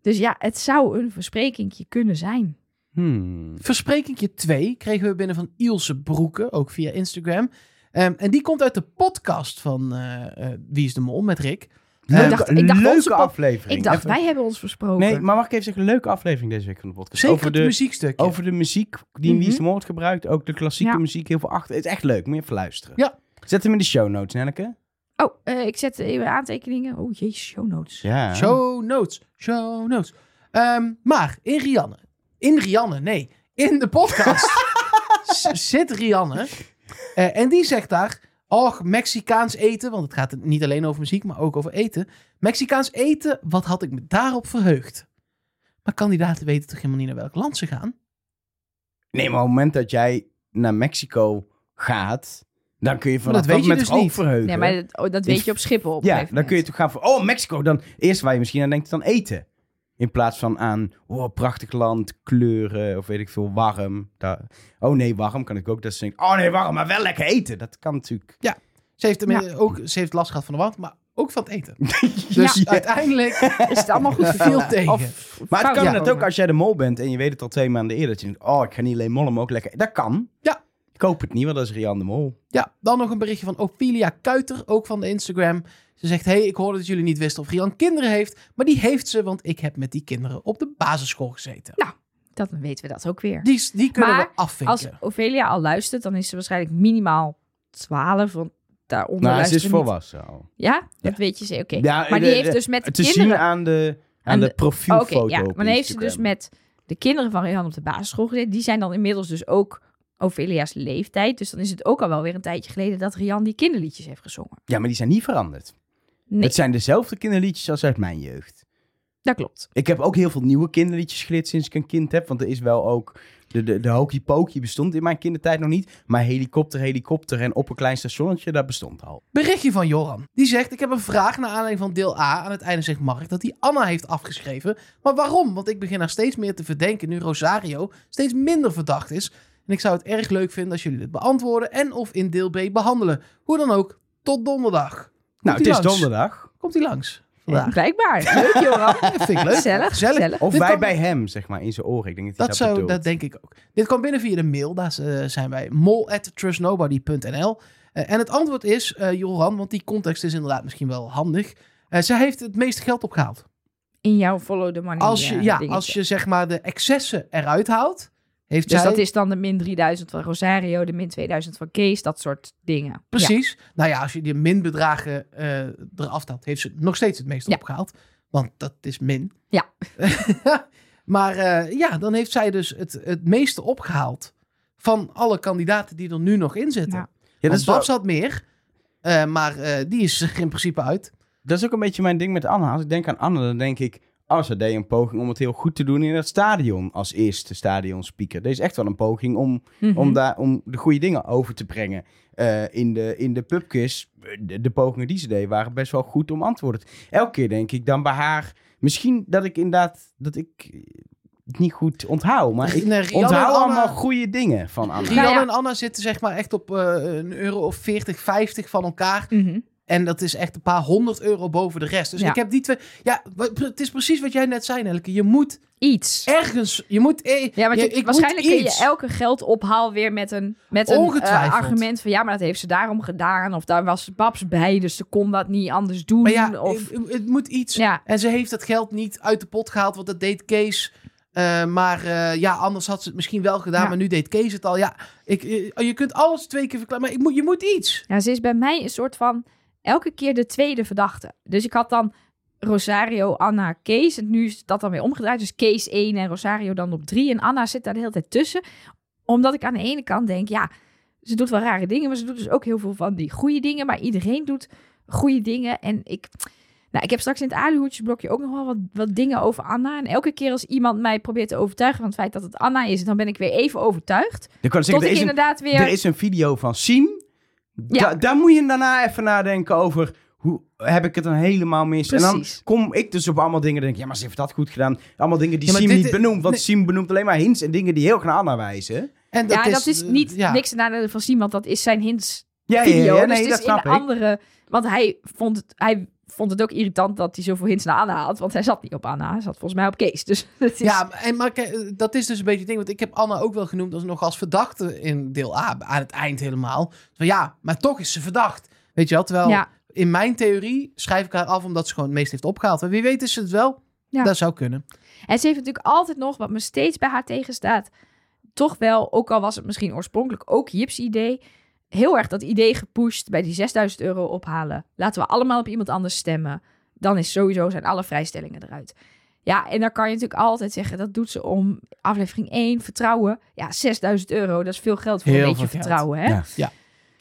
Speaker 2: Dus ja, het zou een versprekingje kunnen zijn.
Speaker 1: Hmm.
Speaker 3: Versprekingje 2 kregen we binnen van Ilse Broeken, ook via Instagram. Ehm, en die komt uit de podcast van eh, eh, Wie is de Mol met Rick.
Speaker 1: Leuke,
Speaker 2: dacht- ik dacht onze
Speaker 1: Hmm. leuke
Speaker 2: pop-
Speaker 1: aflevering.
Speaker 2: Ik dacht,
Speaker 1: Even-
Speaker 2: wij hebben ons versproken.
Speaker 1: Nee, maar mag ik even zeggen, leuke aflevering deze week van de podcast.
Speaker 3: Zeker
Speaker 1: Dus over
Speaker 3: Mhm. het
Speaker 1: de,
Speaker 3: muziekstukje.
Speaker 1: over de muziek die in Wie is de Mol wordt gebruikt. Ook de klassieke
Speaker 2: Ja.
Speaker 1: muziek, heel veel achter. Het is echt leuk, moet je even luisteren.
Speaker 3: Ja.
Speaker 1: Zet hem in de show notes, Nelke.
Speaker 2: Oh, eh, ik zet even aantekeningen. Oh jezus, show notes.
Speaker 1: Ja.
Speaker 3: Show notes, show notes. Ehm, maar in Rianne, in Rianne, nee, in de podcast z- zit Rianne. Eh, en die zegt daar, och, Mexicaans eten, want het gaat niet alleen over muziek, maar ook over eten. Mexicaans eten, wat had ik me daarop verheugd? Maar kandidaten weten toch helemaal niet naar welk land ze gaan?
Speaker 1: Nee, maar op het moment dat jij naar Mexico gaat, dan kun je van
Speaker 3: Maar dat weet je
Speaker 1: moment
Speaker 3: dus
Speaker 1: ook
Speaker 3: niet.
Speaker 1: verheugen.
Speaker 2: Nee, maar dat, oh, dat
Speaker 1: Ik-
Speaker 2: weet je op Schiphol op een
Speaker 1: ja,
Speaker 2: gegeven
Speaker 1: dan kun je
Speaker 2: moment.
Speaker 1: toch gaan van, oh, Mexico. Dan eerst waar je misschien aan denkt, dan eten. In plaats van aan, oh, prachtig land, kleuren, of weet ik veel, warm. Daar- oh nee, warm kan ik ook. Dat ze denken, oh nee, warm, maar wel lekker eten. Dat kan natuurlijk.
Speaker 3: Ze heeft, ermee- ook, ze heeft last gehad van de warmte, maar ook van het eten. Dus
Speaker 1: Ja.
Speaker 3: uiteindelijk
Speaker 2: Is het allemaal
Speaker 1: [laughs]
Speaker 2: goed
Speaker 3: viel
Speaker 2: verdeeld?
Speaker 3: tegen.
Speaker 2: Of-
Speaker 1: Maar het
Speaker 2: fout
Speaker 1: kan
Speaker 3: Ja.
Speaker 1: net
Speaker 2: gekomen?
Speaker 1: ook als jij de mol bent en je weet het al twee maanden eerder. Dat je denkt, oh, ik ga niet alleen mollen, maar ook lekker. Dat kan.
Speaker 3: Ja.
Speaker 1: Ik hoop het niet, want dat is Rian de Mol.
Speaker 3: Ja, dan nog een berichtje van Ophelia Kuiter, ook van de Instagram. Ze zegt, hey, ik hoorde dat jullie niet wisten of Rian kinderen heeft. Maar die heeft ze, want ik heb met die kinderen op de basisschool gezeten.
Speaker 2: Dan weten we dat ook weer.
Speaker 3: Die, die kunnen
Speaker 2: Maar
Speaker 3: we afvinken.
Speaker 2: Als Ophelia al luistert, dan is ze waarschijnlijk minimaal 12, want daaronder
Speaker 1: Nou, ze
Speaker 2: luistert
Speaker 1: is
Speaker 2: niet.
Speaker 1: volwassen al.
Speaker 2: Ja? Dat
Speaker 1: Ja.
Speaker 2: weet je ze, oké.
Speaker 1: Ja,
Speaker 2: maar die
Speaker 1: de-
Speaker 2: heeft
Speaker 1: de-
Speaker 2: dus met de
Speaker 1: Te
Speaker 2: kinderen...
Speaker 1: zien aan de, aan
Speaker 2: Aan
Speaker 1: de,
Speaker 2: de-
Speaker 1: profielfoto
Speaker 2: Oké, ja.
Speaker 1: op
Speaker 2: Maar dan heeft ze dus
Speaker 1: Instagram.
Speaker 2: met de kinderen van Rihan op de basisschool gezeten. Die zijn dan inmiddels dus ook Ophelia's leeftijd. Dus dan is het ook al wel weer een tijdje geleden dat Rian die kinderliedjes heeft gezongen.
Speaker 1: Ja, maar die zijn niet veranderd.
Speaker 2: Nee,
Speaker 1: Het zijn dezelfde kinderliedjes als uit mijn jeugd.
Speaker 2: dat klopt.
Speaker 1: Ik heb ook heel veel nieuwe kinderliedjes geleerd sinds ik een kind heb. Want er is wel ook... De, de, de Hokey Pokey bestond in mijn kindertijd nog niet. Maar helikopter, helikopter en op een klein stationnetje, dat bestond al.
Speaker 3: Berichtje van Joran. Die zegt, ik heb een vraag naar aanleiding van deel A. Aan het einde zegt Mark dat hij Anna heeft afgeschreven. Maar waarom? Want ik begin haar steeds meer te verdenken nu Rosario steeds minder verdacht is. En ik zou het erg leuk vinden als jullie dit beantwoorden en of in deel B behandelen. Hoe dan ook, tot donderdag. Komt
Speaker 1: Nou, het
Speaker 3: hij
Speaker 1: is
Speaker 3: langs?
Speaker 1: donderdag.
Speaker 3: Komt hij langs vandaag?
Speaker 1: [laughs]
Speaker 2: Blijkbaar. Leuk, Joran.
Speaker 3: Ah, Dat vind ik leuk.
Speaker 2: Gezellig, gezellig.
Speaker 1: Of
Speaker 3: Dit
Speaker 1: wij
Speaker 3: kwam-
Speaker 1: bij hem, zeg maar, in zijn oren. Ik denk [laughs] dat hij dat,
Speaker 3: Dat, zou,
Speaker 1: bedoelt.
Speaker 3: dat denk ik ook. Dit kwam binnen via de mail. Daar eh, zijn wij mol.trustnobody.nl. Eh, en het antwoord is, eh, Joran, want die context is inderdaad misschien wel handig. Eh, zij heeft het meeste geld opgehaald.
Speaker 2: In jouw follow the money
Speaker 3: Als je,
Speaker 2: eh,
Speaker 3: ja,
Speaker 2: dingetje.
Speaker 3: als je zeg maar de excessen eruit haalt, heeft
Speaker 2: Dus
Speaker 3: zij...
Speaker 2: dat is dan de min 3000 van Rosario, de min 2000 van Kees, dat soort dingen.
Speaker 3: Precies. Nou ja, als je die minbedragen eh eraf haalt, heeft ze nog steeds het meeste
Speaker 2: Ja.
Speaker 3: opgehaald. Want dat is min.
Speaker 2: Ja.
Speaker 3: [laughs] maar eh, ja, dan heeft zij dus het, het meeste opgehaald van alle kandidaten die er nu nog in zitten.
Speaker 2: Ja.
Speaker 1: Ja, dat,
Speaker 3: Want
Speaker 1: is wel-
Speaker 3: Babs had meer, eh, maar eh, die is er in principe uit.
Speaker 1: dat is ook een beetje mijn ding met Anna. Als ik denk aan Anna, dan denk ik... Oh, ze deed een poging om het heel goed te doen in het stadion. Als eerste stadionspeaker. Dit is echt wel een poging om
Speaker 2: Ja. Mhm.
Speaker 1: om, daar, om de goede dingen over te brengen. Eh, in, de, in de pubquiz, de, de pogingen die ze deed, waren best wel goed om antwoorden. te- Elke keer denk ik dan bij haar, misschien dat ik inderdaad, dat ik eh, het niet goed onthoud.
Speaker 2: Dus
Speaker 1: Maar ik
Speaker 3: Nee, Dus eh, Rianne en
Speaker 1: onthoud
Speaker 3: Anna-
Speaker 1: allemaal goede dingen van Anna.
Speaker 3: Rian
Speaker 2: Nou ja.
Speaker 3: en Anna zitten zeg maar echt op eh, een euro of 40, 50 van elkaar.
Speaker 2: Mhm.
Speaker 3: En dat is echt een paar honderd euro boven de rest. Dus
Speaker 2: Ja.
Speaker 3: ik heb die twee... Ja, wa- het is precies wat jij net zei, Nelke. Je moet
Speaker 2: Iets.
Speaker 3: ergens... Je moet... eh,
Speaker 2: Ja, want
Speaker 3: je-
Speaker 2: je-
Speaker 3: ik moet
Speaker 2: waarschijnlijk kun je
Speaker 3: iets.
Speaker 2: elke geldophaal weer met een, met een eh,
Speaker 3: Ongetwijfeld.
Speaker 2: argument van ja, maar dat heeft ze daarom gedaan. Of daar was Babs bij, dus ze kon dat niet anders doen.
Speaker 3: Maar ja, eh,
Speaker 2: of,
Speaker 3: het, het moet iets.
Speaker 2: ja,
Speaker 3: En ze heeft dat geld niet uit de pot gehaald, want dat deed Kees. Eh, maar eh, ja, anders had ze het misschien wel gedaan,
Speaker 2: Ja.
Speaker 3: maar nu deed Kees het al. Ja, ik, eh, je kunt alles twee keer verklaren, maar ik moet, je moet iets.
Speaker 2: ja, Nou, ze is bij mij een soort van elke keer de tweede verdachte. Dus ik had dan Rosario, Anna, Kees. En nu is dat dan weer omgedraaid. Dus Kees 1 en Rosario dan op 3. En Anna zit daar de hele tijd tussen. Omdat ik aan de ene kant denk, ja, ze doet wel rare dingen. Maar ze doet dus ook heel veel van die goede dingen. Maar iedereen doet goede dingen. En ik, nou, ik heb straks in het aluhoedjesblokje ook nog wel wat, wat dingen over Anna. En elke keer als iemand mij probeert te overtuigen van het feit dat het Anna is, dan ben ik weer even overtuigd.
Speaker 1: Ik kan
Speaker 2: Tot
Speaker 1: zeggen,
Speaker 2: ik
Speaker 1: er, is een,
Speaker 2: inderdaad weer...
Speaker 1: er is een video van Sien.
Speaker 2: Ja.
Speaker 1: Da- daar moet je daarna even nadenken over... Hoe heb ik het dan helemaal mis? En dan
Speaker 2: Precies.
Speaker 1: kom ik dus op allemaal dingen. Denk ik, ja, maar ze heeft dat goed gedaan. Allemaal dingen die
Speaker 3: Ja, maar
Speaker 1: Siem
Speaker 3: dit-
Speaker 1: niet benoemt. Want
Speaker 3: nee.
Speaker 1: Siem benoemt alleen maar hints en dingen die heel erg naar Anna wijzen.
Speaker 3: En
Speaker 2: ja, dat is
Speaker 3: eh,
Speaker 2: niet
Speaker 3: ja.
Speaker 2: niks ten nadele van Simon, dat is zijn hints
Speaker 1: Ja, ja,
Speaker 2: video.
Speaker 1: ja, ja,
Speaker 2: dus
Speaker 1: nee,
Speaker 2: het is
Speaker 1: dat snap
Speaker 2: in
Speaker 1: ik.
Speaker 2: de andere. Want hij vond, het, hij vond het ook irritant dat hij zoveel hints naar Anna had. Want hij zat niet op Anna, hij zat volgens mij op Kees. Dus [laughs] het is,
Speaker 3: Ja, maar- en, maar kijk, eh, dat is dus een beetje het ding. Want ik heb Anna ook wel genoemd als nog als verdachte in deel A, aan het eind helemaal. Van ja, maar toch is ze verdacht. Weet je wel, terwijl
Speaker 2: Ja.
Speaker 3: in mijn theorie schrijf ik haar af omdat ze gewoon het meest heeft opgehaald. En wie weet is ze het wel.
Speaker 2: Ja.
Speaker 3: Dat zou kunnen.
Speaker 2: En ze heeft natuurlijk altijd nog, wat me steeds bij haar tegenstaat, toch wel, ook al was het misschien oorspronkelijk ook Jips idee, heel erg dat idee gepusht bij die 6000 euro ophalen. Laten we allemaal op iemand anders stemmen. Dan is sowieso zijn alle vrijstellingen eruit. Ja, en dan kan je natuurlijk altijd zeggen, dat doet ze om aflevering 1, vertrouwen. Ja, 6000 euro, dat is veel geld voor
Speaker 3: Heel
Speaker 2: een beetje
Speaker 3: veel geld.
Speaker 2: vertrouwen, hè?
Speaker 1: Ja.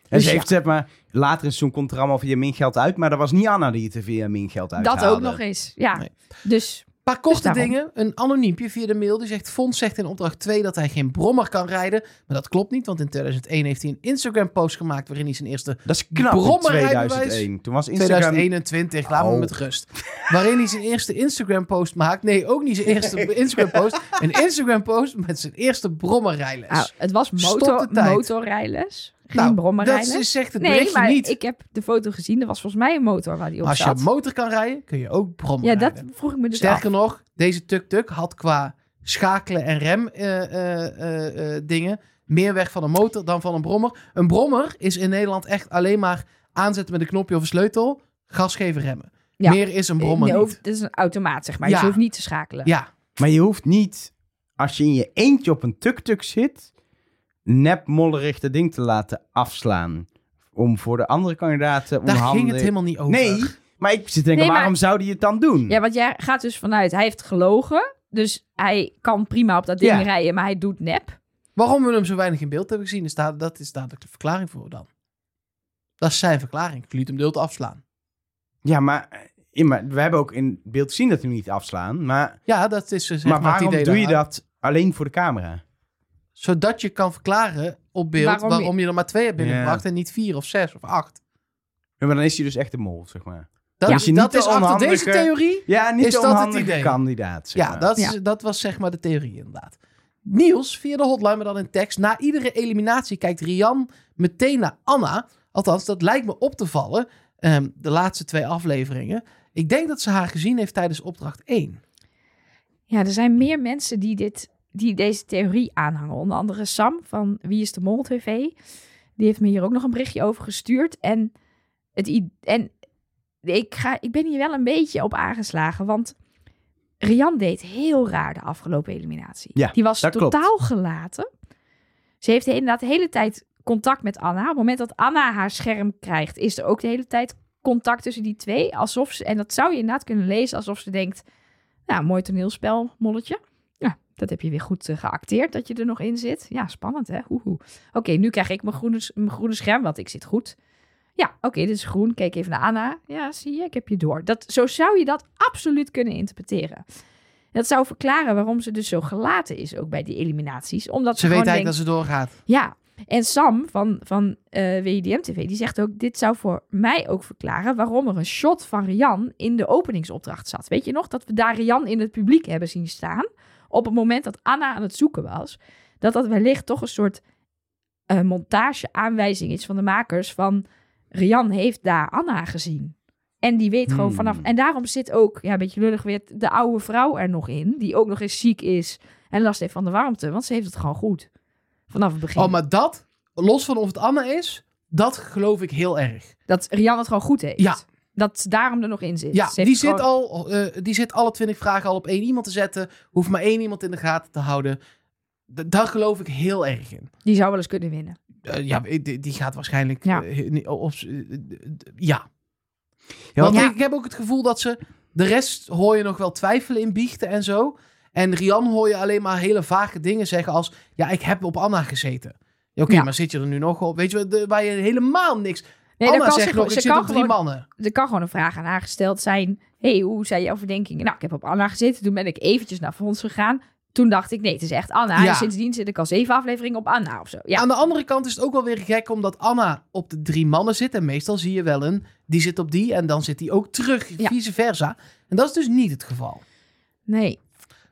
Speaker 1: En
Speaker 2: Dus
Speaker 1: ze
Speaker 2: ja.
Speaker 1: heeft, zeg maar, later in zo'n komt er allemaal via min geld uit. Maar dat was niet Anna die het er via min geld uit
Speaker 2: Dat ook nog eens, ja.
Speaker 3: Nee.
Speaker 2: Dus,
Speaker 3: paar korte
Speaker 2: daarom.
Speaker 3: dingen. Een anoniempje via de mail die zegt... Fons zegt in opdracht 2 dat hij geen brommer kan rijden. Maar dat klopt niet, want in 2001 heeft hij een Instagram-post gemaakt... waarin hij zijn eerste...
Speaker 1: Dat is knap in
Speaker 3: Brommerrijbewijs.
Speaker 1: 2001. Toen was Instagram...
Speaker 3: 2021, laat me
Speaker 1: Oh.
Speaker 3: met rust. Waarin hij zijn eerste Instagram-post maakt. Nee, ook niet zijn eerste Instagram-post. Een Instagram-post met zijn eerste brommerrijles.
Speaker 2: nou, het was
Speaker 3: Dus Stop
Speaker 2: motor,
Speaker 3: de tijd.
Speaker 2: motorrijles, geen
Speaker 3: Nou,
Speaker 2: brommerrijles.
Speaker 3: Dat is, zegt het
Speaker 2: Nee,
Speaker 3: berichtje
Speaker 2: maar
Speaker 3: niet.
Speaker 2: ik heb de foto gezien. Er was volgens mij een motor waar die op
Speaker 3: Maar als je
Speaker 2: zat.
Speaker 3: op motor kan rijden, kun je ook brommen
Speaker 2: ja,
Speaker 3: rijden.
Speaker 2: dat vroeg ik me dus
Speaker 3: Sterker
Speaker 2: af.
Speaker 3: nog, deze tuk-tuk had qua schakelen en rem eh, eh, eh, eh, dingen meer weg van een motor dan van een brommer. Een brommer is in Nederland echt alleen maar aanzetten met een knopje of een sleutel, gas geven, remmen.
Speaker 2: Ja.
Speaker 3: Meer is een brommer
Speaker 2: Je
Speaker 3: niet.
Speaker 2: hoeft- Het is een automaat, zeg maar.
Speaker 3: Ja.
Speaker 2: Dus je hoeft niet te schakelen.
Speaker 3: Ja,
Speaker 1: Maar je hoeft niet, als je in je eentje op een tuk-tuk zit, nep mollerig dat ding te laten afslaan. Om voor de andere kandidaten
Speaker 3: daar
Speaker 1: onhandig...
Speaker 3: ging het helemaal niet over.
Speaker 1: Nee, maar ik zit te denken,
Speaker 2: Nee, maar-
Speaker 1: waarom zou die het dan doen?
Speaker 2: Ja, want jij gaat dus vanuit, hij heeft gelogen. Dus hij kan prima op dat ding
Speaker 1: Ja.
Speaker 2: rijden, maar hij doet nep.
Speaker 3: Waarom we hem zo weinig in beeld hebben gezien, is daar, dat is dadelijk de verklaring voor dan. Dat is zijn verklaring. Ik liet hem deelt afslaan.
Speaker 1: Ja, maar, ja, maar we hebben ook in beeld gezien dat we hem niet afslaan. Maar,
Speaker 3: Ja, dat is dus echt
Speaker 1: maar
Speaker 3: het
Speaker 1: waarom
Speaker 3: idee
Speaker 1: doe je
Speaker 3: daar.
Speaker 1: dat alleen voor de camera?
Speaker 3: Zodat je kan verklaren op beeld
Speaker 2: Waarom
Speaker 3: waarom,
Speaker 2: je-
Speaker 3: je er maar twee hebt binnengebracht en niet vier of zes of acht.
Speaker 1: Ja, maar dan is hij dus echt een mol, zeg maar.
Speaker 3: Dat,
Speaker 1: Ja.
Speaker 3: is-
Speaker 1: Dus je niet
Speaker 3: dat
Speaker 1: de
Speaker 3: is achter
Speaker 1: onhandige-
Speaker 3: deze theorie.
Speaker 1: Ja, niet
Speaker 3: Is
Speaker 1: de
Speaker 3: dat het
Speaker 1: onhandige
Speaker 3: idee?
Speaker 1: kandidaat, zeg
Speaker 3: Ja,
Speaker 1: maar.
Speaker 3: dat, is, dat was zeg maar de theorie inderdaad. Niels, via de hotline, maar dan in tekst. Na iedere eliminatie kijkt Rian meteen naar Anna. Althans, dat lijkt me op te vallen. ehm, de laatste twee afleveringen. Ik denk dat ze haar gezien heeft tijdens opdracht 1.
Speaker 2: Ja, er zijn meer mensen die, dit, die deze theorie aanhangen. Onder andere Sam van Wie is de Mol TV. Die heeft me hier ook nog een berichtje over gestuurd. En, het, i- en ik, ga, ik ben hier wel een beetje op aangeslagen. Want Rian deed heel raar de afgelopen eliminatie.
Speaker 1: Ja,
Speaker 2: Die was
Speaker 1: dat klopt.
Speaker 2: totaal gelaten. Ze heeft inderdaad de hele tijd contact met Anna. Op het moment dat Anna haar scherm krijgt, is er ook de hele tijd contact tussen die twee. Alsof ze, en dat zou je inderdaad kunnen lezen alsof ze denkt... Nou, mooi toneelspel, molletje. Ja, dat heb je weer goed eh, geacteerd dat je er nog in zit. Ja, spannend hè? Hoehoe. Oké, nu krijg ik mijn groene, s- mijn groene scherm, want ik zit goed. Ja, oké, dit is groen. Kijk even naar Anna. Ja, zie je, ik heb je door. Dat, zo zou je dat absoluut kunnen interpreteren. Dat zou verklaren waarom ze dus zo gelaten is ook bij die eliminaties. Omdat
Speaker 3: Ze
Speaker 2: ze
Speaker 3: weet
Speaker 2: gewoon
Speaker 3: eigenlijk
Speaker 2: denkt,
Speaker 3: dat ze doorgaat.
Speaker 2: ja, en Sam van, van eh WIDM-TV, die zegt ook... dit zou voor mij ook verklaren waarom er een shot van Rian in de openingsopdracht zat. Weet je nog, dat we daar Rian in het publiek hebben zien staan... op het moment dat Anna aan het zoeken was... dat dat wellicht toch een soort eh montage-aanwijzing is van de makers van... Rian heeft daar Anna gezien. En die weet gewoon
Speaker 1: Hmm.
Speaker 2: vanaf. En daarom zit ook, ja, een beetje lullig weer, de oude vrouw er nog in. Die ook nog eens ziek is en last heeft van de warmte. Want ze heeft het gewoon goed. Vanaf het begin.
Speaker 3: Oh, maar dat, los van of het Anna is, dat geloof ik heel erg.
Speaker 2: Dat Rian het gewoon goed heeft.
Speaker 3: Ja.
Speaker 2: Dat ze daarom er nog in zit.
Speaker 3: Ja,
Speaker 2: Ze heeft
Speaker 3: die
Speaker 2: gewoon-
Speaker 3: zit, al, eh, die zit alle twintig vragen al op één iemand te zetten. Hoeft maar één iemand in de gaten te houden. D- daar geloof ik heel erg in.
Speaker 2: die zou wel eens kunnen winnen.
Speaker 3: Eh, ja, die, die gaat waarschijnlijk...
Speaker 2: Ja.
Speaker 3: eh, niet- of, eh, d- ja.
Speaker 1: Ja,
Speaker 3: Want
Speaker 2: ja.
Speaker 3: ik heb ook het gevoel dat ze... De rest hoor je nog wel twijfelen in biechten en zo. En Rian hoor je alleen maar hele vage dingen zeggen als... Ja, ik heb op Anna gezeten. Ja, Oké,
Speaker 2: Ja.
Speaker 3: maar zit je er nu nog op? Weet je, wel, de- waar je helemaal niks...
Speaker 2: Nee,
Speaker 3: Anna
Speaker 2: dan kan
Speaker 3: zegt
Speaker 2: ze,
Speaker 3: nog,
Speaker 2: ze
Speaker 3: ik zit
Speaker 2: kan
Speaker 3: op drie
Speaker 2: gewoon,
Speaker 3: mannen.
Speaker 2: Er kan gewoon een vraag aan haar gesteld zijn. hey, hoe zijn jouw verdenkingen? Nou, ik heb op Anna gezeten. Toen ben ik eventjes naar Fons gegaan. Toen dacht ik, nee, het is echt Anna.
Speaker 3: Ja.
Speaker 2: En sindsdien zit ik al zeven afleveringen op Anna of zo. Ja,
Speaker 3: Aan de andere kant is het ook wel weer gek omdat Anna op de drie mannen zit. En meestal zie je wel een, die zit op die en dan zit die ook terug,
Speaker 2: Ja.
Speaker 3: vice versa. En dat is dus niet het geval.
Speaker 2: nee.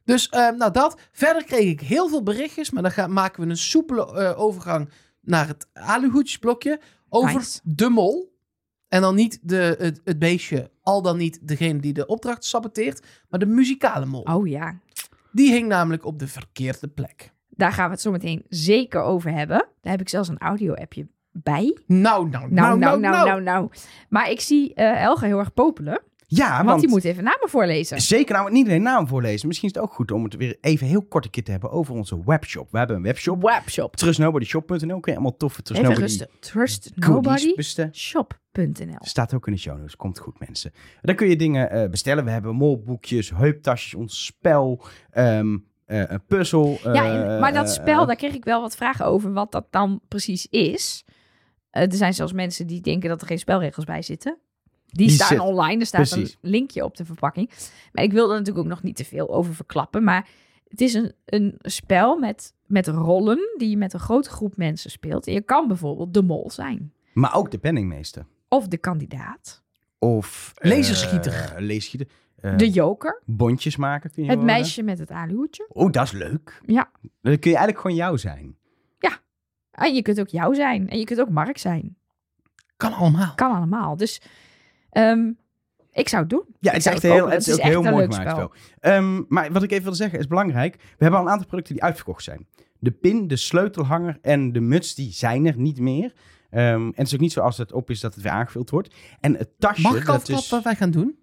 Speaker 3: Dus eh, nou dat. Verder kreeg ik heel veel berichtjes, maar dan gaan, maken we een soepele eh, overgang naar het aluhoedjesblokje over
Speaker 2: Nice.
Speaker 3: de mol. En dan niet de, het, het beestje, al dan niet degene die de opdracht saboteert, maar de muzikale mol.
Speaker 2: Oh ja,
Speaker 3: Die hing namelijk op de verkeerde plek.
Speaker 2: daar gaan we het zo meteen zeker over hebben. Daar heb ik zelfs een audio-appje bij.
Speaker 3: Nou, nou,
Speaker 2: Nou, nou, nou,
Speaker 3: nou.
Speaker 2: nou, nou. Maar ik zie eh Elga heel erg popelen.
Speaker 1: Ja,
Speaker 2: want,
Speaker 1: Ah, want
Speaker 2: die moet even namen voorlezen.
Speaker 1: Zeker nou, niet alleen naam voorlezen. Misschien is het ook goed om het weer even heel kort een keer te hebben over onze webshop. We hebben een webshop.
Speaker 2: Webshop.
Speaker 1: Trustnobodyshop.nl. Kun je allemaal toffe Trust
Speaker 2: Even
Speaker 1: Nobody
Speaker 2: rustig. Trust
Speaker 1: goodies
Speaker 2: nobody.
Speaker 1: bestellen.
Speaker 2: Shop.nl.
Speaker 1: Staat ook in de show notes. Komt goed, mensen. Daar kun je dingen eh, bestellen. We hebben molboekjes, heuptasjes, ons spel, ehm, eh, een puzzel.
Speaker 2: Ja,
Speaker 1: eh,
Speaker 2: en- maar dat
Speaker 1: eh,
Speaker 2: spel, daar kreeg ik wel wat vragen over wat dat dan precies is. Eh, er zijn zelfs mensen die denken dat er geen spelregels bij zitten. Die,
Speaker 1: Die
Speaker 2: staan
Speaker 1: zit-
Speaker 2: online, er staat
Speaker 1: precies.
Speaker 2: een linkje op de verpakking. Maar ik wil er natuurlijk ook nog niet te veel over verklappen. Maar het is een, een spel met, met rollen die je met een grote groep mensen speelt. En je kan bijvoorbeeld de mol zijn.
Speaker 1: Maar ook de penningmeester.
Speaker 2: Of de kandidaat.
Speaker 1: Of... eh,
Speaker 3: Laserschieter.
Speaker 1: laserschieter. Eh,
Speaker 2: De joker.
Speaker 1: Bondjes maken kun je
Speaker 2: Het
Speaker 1: worden.
Speaker 2: meisje met het aluhoedje.
Speaker 1: Oh, dat is leuk.
Speaker 2: Ja.
Speaker 1: Dan kun je eigenlijk gewoon jou zijn.
Speaker 2: En Ah, je kunt ook jou zijn. En je kunt ook Mark zijn.
Speaker 3: Kan allemaal.
Speaker 2: Kan allemaal. Dus ehm, ik zou het doen.
Speaker 1: Ja,
Speaker 2: Ik
Speaker 1: het is
Speaker 2: zou
Speaker 1: echt
Speaker 2: het
Speaker 1: heel,
Speaker 2: kopen.
Speaker 1: het is
Speaker 2: Het is
Speaker 1: ook
Speaker 2: echt
Speaker 1: heel
Speaker 2: een
Speaker 1: mooi
Speaker 2: leuk
Speaker 1: gemaakt
Speaker 2: spel.
Speaker 1: wel. Ehm, maar wat ik even wil zeggen is belangrijk. We hebben al een aantal producten die uitverkocht zijn. De pin, de sleutelhanger en de muts, die zijn er niet meer. Ehm, en het is ook niet zo als het op is dat het weer aangevuld wordt. En het tasje,
Speaker 3: Mag ik al
Speaker 1: dat
Speaker 3: verklappen
Speaker 1: is...
Speaker 3: wat wij gaan doen?